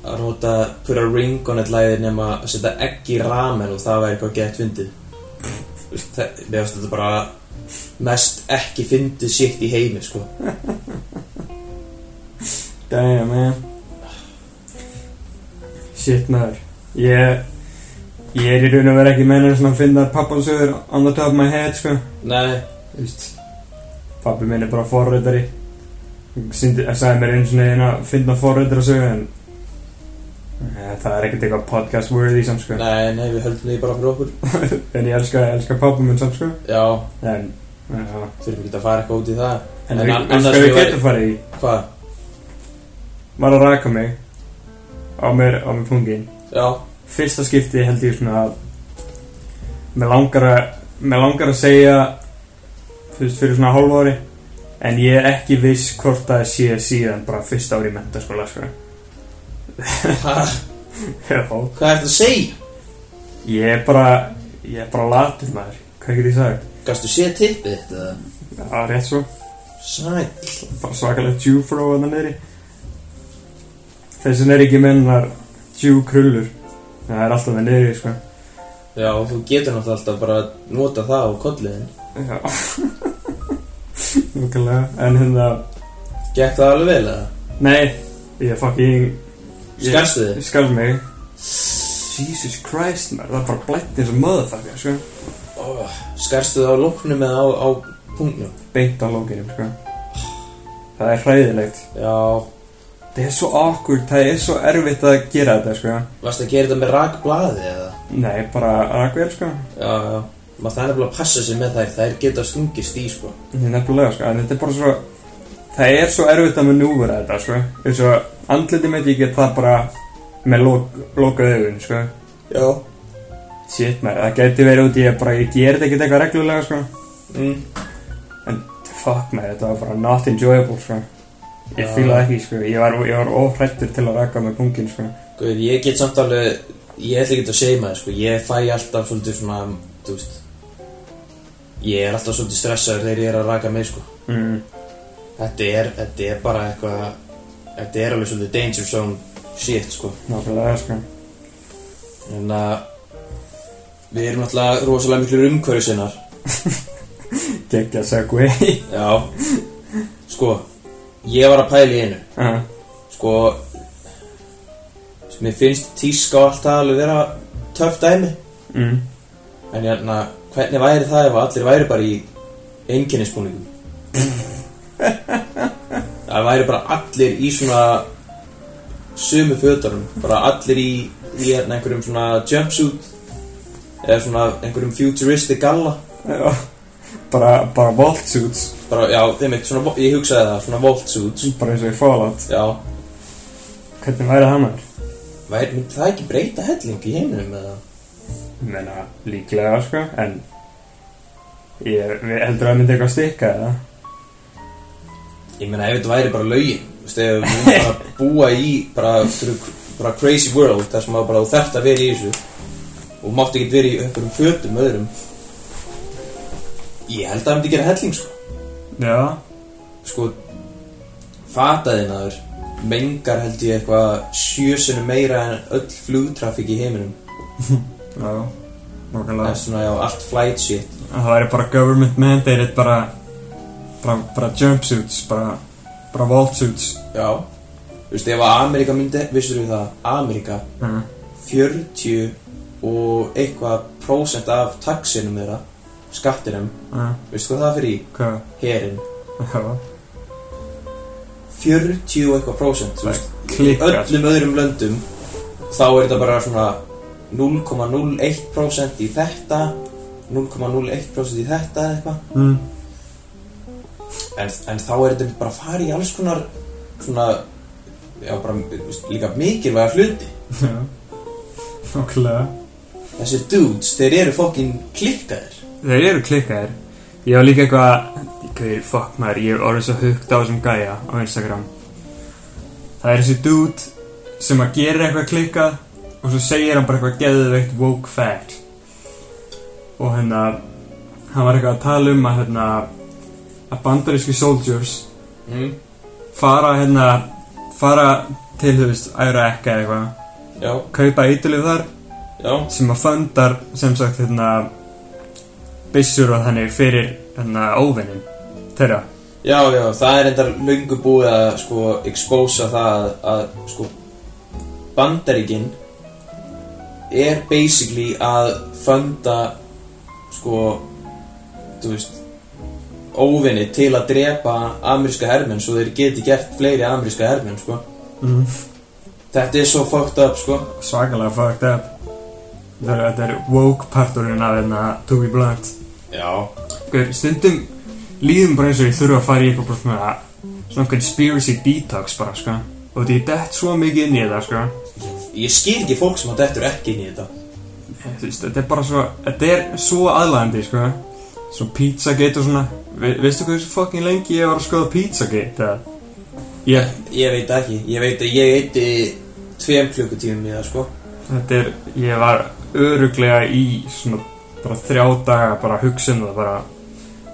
C: að nota pura ring on it læðir nema að setja egg í ramen og það væri eitthvað gett fyndið Þú veist, það- mér finnst þetta bara mest ekki fyndið sitt í heimi sko
D: Damn, man. Shit, maður. Ég, ég er í raun og vera ekki mennur svona að finna pappasögur on the top of my head, sko.
C: Nei,
D: Þú veist, pappi minn er bara forreytari. Sýndi, að sagði mér einu hérna, svona eina að finna forreytara sögur, en... Ja, það er ekkert eitthvað podcast worthy samt, sko.
C: nei, nei, við höldum því bara fyrir okkur
D: en ég elska, elska pappa minn samt, sko.
C: Já,
D: En, já.
C: þurfum ekki að fara eitthvað út í það
D: En,
C: En
D: en
C: an-
D: annars
C: annars
D: við
C: ég væri-
D: getum farið í...
C: Hvað?
D: var að raka mig á mér, á mér pungin
C: Já,
D: fyrsta skipti held ég svona að mér langar að mér langar að segja þú veist fyrir svona hálf ári en ég er ekki viss hvort það sé síðan bara fyrsta ári í mentaskóla sko.
C: ha,
D: Já.
C: hvað ertu að segja?
D: ég er bara ég er bara latur maður hvað get ég sagt
C: Gastu séð tippið þetta? eða?
D: það er rétt svo
C: Sæll
D: bara svakalega djúfró að það neyri þessin er ekki mennar djúkrullur það er alltaf það neyri sko
C: Já, þú getur náttúrulega alltaf bara að nota það á kolliðin
D: Já Nákvæmlega En hérna
C: Gekk það alveg vel eða?
D: Nei Ég fucking ég-
C: Skarstu þið?
D: Ég skarst mig Jesus Christ maður Það er bara blætt eins og motherfucker sko
C: Oh, skarstu það á lóknum eða á, á punktnum?
D: Beint á lókinum sko Það er hræðilegt
C: Já,
D: Það er svo awkward Það er svo erfitt að gera þetta sko
C: varstu að gera þetta með rakblaði eða?
D: Nei bara rakvél sko
C: Já, já, maður það er nefnilega að passa sig með þær, þær geta stungist í sko
D: Ég nefnilega sko En þetta er bara svo Það er svo erfitt að manúvera þetta sko Eins og andliti mitt ég get það bara Með lok, lokað augun sko
C: Já
D: Shit maður, það gæti verið út í að bara ég ger þetta ekkert eitthvað reglulega sko
C: mm.
D: Fuck maður, þetta var bara not enjoyable sko Ég
C: Já.
D: fílaði ekki sko, ég var, ég var óhrættur til að raka með pungin sko
C: Guður, ég get samt alveg, ég ætla ekki að segja maður sko Ég fæ alltaf svolítið svona, þú veist Ég er alltaf svolítið stressaður þegar ég er að raka mig sko
D: mm.
C: Þetta er, þetta er bara eitthvað Þetta er alveg svolítið danger zone shit sko
D: Nákvæmlega sko
C: En að Við erum náttúrulega rosalega miklu umhverju sinnar
D: Gekki að segja guði
C: Já Sko Ég var að pæla í einu Sko Mér finnst tíska og allt það alveg vera Töff dæmi
D: mm.
C: En hérna Hvernig væri það ef allir væri bara í Einkennisbúningum Það væri bara allir í svona Sumu fötunum Bara allir í Í hérna einhverjum svona jumpsuit Eða svona einhverjum futuristic galla
D: Já. Bara, bara vault suits
C: bara, já, þeim eitt svona, ég hugsaði það, svona volt suits
D: Bara eins og í Fallout
C: já,
D: Hvernig væri það maður?
C: væri, myndi það ekki breyta helling í heiminum eða?
D: Ég meina, líklega sko, en Ég við- heldur að það myndi eitthvað stikka eða
C: ég meina, ef þetta væri bara lögin þú veist, ef við myndum bara búa í bara, einhverju- bara crazy world þar sem að bara þú þarft að vera í þessu og mátt ekki vera í einhverjum fötum öðrum ég held að það myndi gera helling sko
D: Já
C: sko fataðin aður mengar held ég eitthvað sjösinu meira en öll flugtrafík í heiminum
D: Já
C: það
D: Nákvæmlega
C: er svona, já, allt flight shit
D: að það væri bara government mandated bara, bara, bara jumpsuits bara, bara vault suits
C: Já Þú veist, ef að Amerika myndi, vissur við það Amerika,
D: Mhm.
C: 40 og eitthvað prósent af taxinum þeirra skattinum,
D: uh,
C: veistu hvað það fyrir í
D: hvað
C: herin,
D: já,
C: 40 og eitthvað prósent þú
D: Það
C: veist, í
D: klikkar.
C: öllum öðrum löndum þá er þetta bara svona 0,01% í þetta 0,01% í þetta eða eitthvað
D: mm,
C: en, en þá er þetta bara að fara í alls konar svona já, bara, þú veist, líka mikilvæga hluti
D: Já. Nákvæmlega.
C: þessir dudes, þeir eru fokkin klikkaðir
D: Þeir eru klikkaðir Ég var líka eitthvað Gauðir, fuck maður, ég er orðið svo hugt á þessum gæja á Instagram Það er þessi dude sem að gera eitthvað klikkað og svo segir hann bara eitthvað geðveikt woke fact og hérna hann var eitthvað að tala um að hérna að bandaríski soldiers
C: mm.
D: fara hérna fara til, þú veist, Iraq eða eitthvað
C: já,
D: kaupa eitilif þar
C: já,
D: sem að fundar sem sagt hérna byssur og þannig fyrir hérna óvinnin þeirra
C: já, já, það er endar löngu búið að sko expósa það að, að sko bandaríkin er basically að funda sko þú veist óvinni til að drepa ameríska hermenn svo þeir geti gert fleiri ameríska hermenn sko
D: Mhm.
C: þetta er svo fucked up sko
D: svakalega fucked up þetta er, þetta er woke parturinn af hérna to be blunt
C: já,
D: Hver, stundum líðum bara eins og ég þurfa að fara í eitthvað bara svona svona conspiracy detox bara sko og því ég dett svo mikið inn í þetta sko
C: ég skil ekki fólk sem að dettur ekki inn í þetta
D: Þú veist, þetta er bara svo þetta er svo aðlæðandi sko svo pizzagate og svona Vi, veistu hvað þessu fucking lengi ég var að skoða pizzagate eða? ég,
C: ég veit ekki, ég veit að ég eitti tveim klukkutíum í það sko
D: þetta er ég var öruglega í svona bara þrjá daga bara að hugsa um það bara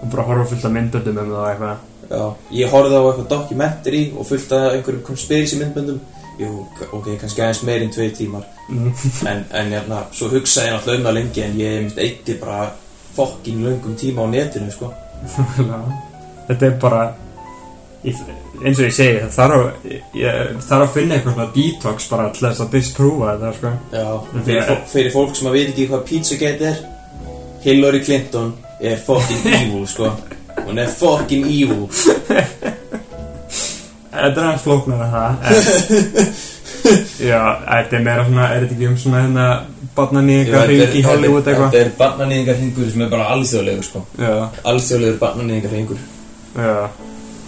D: og bara horfa fullt af myndöndum um það og eitthvað
C: já, ég horfði á eitthvað documentary og fullt af einhverjum conspiracy myndböndum jú, k- ok, kannski aðeins meir en tveir tímar
D: Mhm.
C: en, en hérna, svo hugsaði ég náttúrulega um það lengi en ég einmitt eitti bara fokkin löngum tíma á netinu sko
D: Nákvæmlega. þetta er bara ég, eins og ég segi það þarf að, ég, þarf að finna eitthvað svona detox bara til þess að disprúfa þetta sko
C: já,
D: Já.
C: fyrir, fó- fyrir fólk sem að veit ekki hvað Pizzagate er Hillary Clinton er fokkin evil sko hún er fokkin evil
D: Þetta er aðeins flóknar að það en, Já, þetta er meira svona Er þetta ekki um svona hérna Barnaníka hring í Hollywood eitthvað
C: Þetta er barnanýðingar hringur sem er bara alþjóðlegur sko
D: Já,
C: Alþjóðlegur barnanýðingar hringur
D: já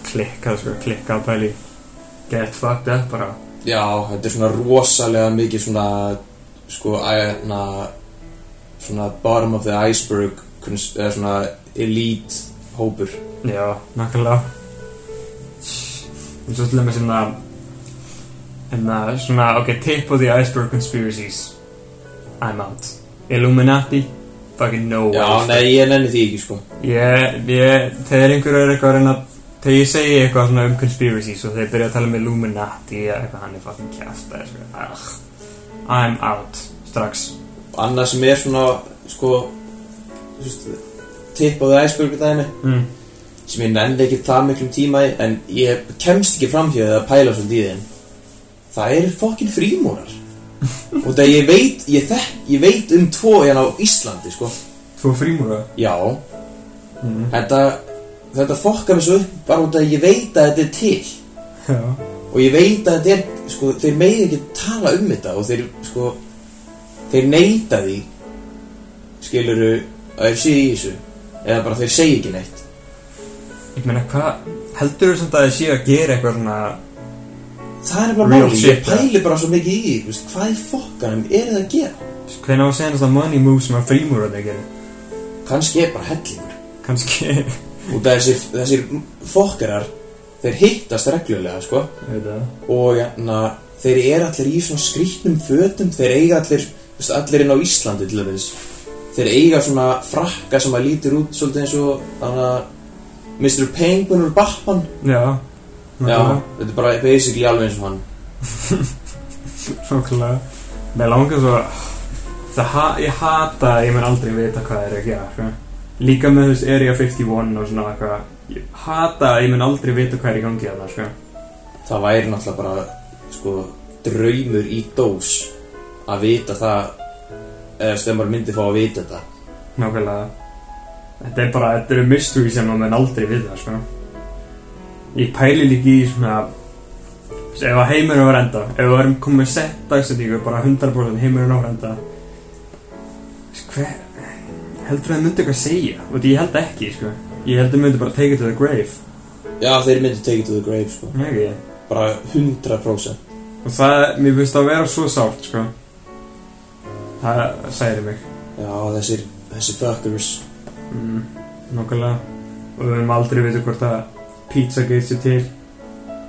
D: Klikkað sko, klikkað pæli Get fucked up bara
C: Já, þetta er svona rosalega mikið svona sko, æ- na, svona bottom of the iceberg kunst, eða svona elite hópur
D: Já, nákvæmlega En svo til dæmis hérna Hérna, svona, ok, tip of the iceberg conspiracies I'm out Illuminati Fucking no
C: Já,
D: way, sko.
C: nei, ég nenni því ekki sko
D: Ég, ég, þegar einhverju er eitthvað að reyna Þegar ég segi eitthvað svona um conspiracies og þeir byrja að tala um Illuminati eða eitthvað hann er fucking kjæft Ugh, I'm out strax
C: Annað sem er svona sko þú veist, tip of the iceberg dæmi
D: mm.
C: sem ég nenni ekki það miklum tíma í en ég kemst ekki fram hér að pæla svolítið í þeim það eru fokkin frímúrar og það ég veit ég, þekk, ég veit um tvo hérna á Íslandi sko.
D: Tvo frímúra
C: já þetta, þetta fokkar mig svo upp bara út af að ég veit að þetta er til
D: Já,
C: og ég veit að þetta er sko, þeir megi ekki tala um þetta og þeir sko þeir neyta því skiluru að þeir séu í þessu eða bara þeir segi ekki neitt
D: ég meina hvað heldur þú samt að þið séu að gera eitthvað svona
C: Það er bara
D: Real
C: máli, ég
D: shit,
C: pæli bara svo mikið í því, þú veist, hvað í fokkanum er það að gera?
D: hvernig á að segja þetta money move sem að frímúra þeir gerir
C: Kannski er bara hellingur.
D: kannski ég
C: Út af þessir, þessir fokkarar, þeir hittast reglulega, sko,
D: veit það
C: og na, þeir eru allir í svona skrýtnum fötum, þeir eiga allir, þú veist, allir inn á Íslandi til þess. Þeir eiga svona frakka sem að lítir út svolítið eins og, þannig að, Mr. Penguin úr Batman.
D: Já,
C: Já,
D: nákvæmlega.
C: þetta er bara basically alveg eins og hann.
D: Nákvæmlega Mér langar svo það, ha- Ég hata að ég mun aldrei vita hvað er að gera sko. Líka með þess Area 51 og svona eitthvað Ég hata að ég mun aldrei vita hvað er í gangi að það sko.
C: það væri náttúrulega bara sko, draumur í dós að vita það eða stemmar myndi fá að vita þetta
D: Nákvæmlega Þetta er bara, þetta eru mystery sem maður mun aldrei vita sko. Ég pæli líka í svona þess, Ef að heimurinn var enda Ef við varum komið með sett dagsetningu Bara 100% heimurinn á enda þess, Hver Heldur það myndi eitthvað segja? Og því ég held ekki sko. Ég held að myndi bara take it to the grave
C: Já, þeir myndu take it to the grave, sko
D: Nei, ekki
C: Bara 100%
D: Og það, mér finnst það að vera svo sárt, sko Það særi mig
C: Já, þessir, þessir fuckers
D: mm, Nókulega Og við höfum aldrei veitur hvort að Pizzagate sé til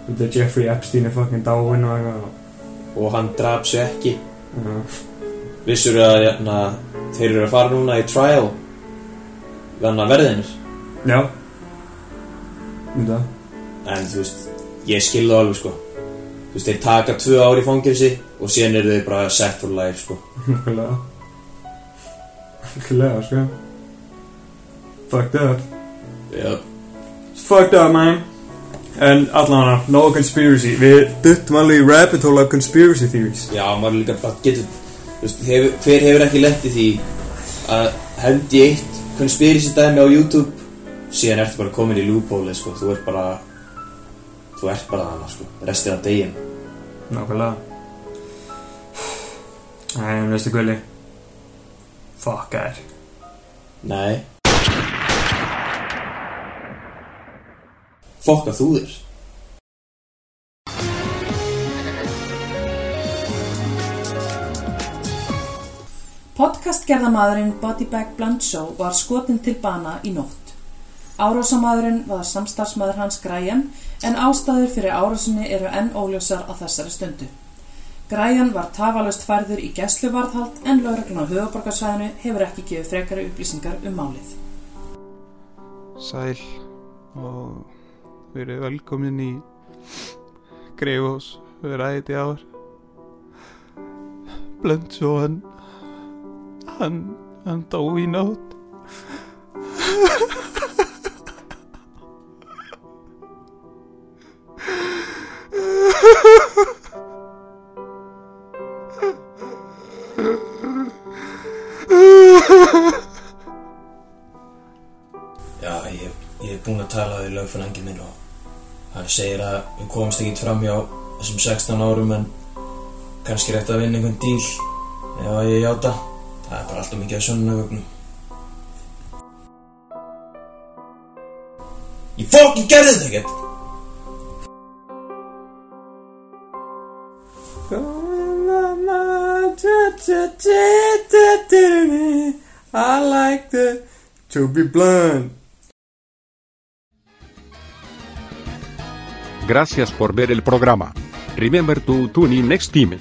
D: Þetta er Jeffrey Epstein er fucking dáinn og eitthvað Uh, og-
C: Og hann draf sér ekki
D: Já,
C: Vissur að, jæna, þeir eru að fara núna í trial Þannig að verðinir
D: já. Þetta
C: En, þú veist, ég skil það alveg, sko Þú veist, þeir taka tvö ár í fangelsi Og síðan eru þeir bara set for life, sko
D: Nákvæmlega Nákvæmlega, sko Fucked up
C: Já,
D: It's fucked up, man En allavega, no conspiracy Við duttum alveg í rabbit hole af conspiracy theories
C: já maður líka bara getur þú veist, hefur, Hver hefur ekki lent í því Að hendi eitt Conspiracy dæmi á YouTube Síðan ertu bara komin í loophole, sko Þú ert bara Þú ert bara þarna, sko Restir af deginn
D: Nákvæmlega Æ, en veistu gulli Fuck, gær
C: Nei Fokka þú þér
H: Podcastgerðamaðurinn Bodybag Blanchot var skotin til bana í nótt. Árásamadurinn var samstarfsmaður hans Græjan en ástæður fyrir árásinni eru enn óljósar á þessari stundu. Græjan var tafalust færður í gæsluvarðhald en lauruglan á höfuborgarsvæðinu hefur ekki gefið frekari upplýsingar um málið.
I: Sæl og verið velkomin í Greifós við ræðið í ár Blöndsjó hann hann, hann dó í nótt
C: Já, ég, ég er búinn að tala við lögfræðingin minn og hann segir að við komumst ekki fram hjá þessum 16 árum en kannski er hægt að vinna einhvern díl ef að ég játa það er bara alltaf mikið að sönnunavögnum Ég fokkin gerði þetta ekkert
J: I like the to be blunt
A: Gracias por ver el programa. Remember to tune in next time.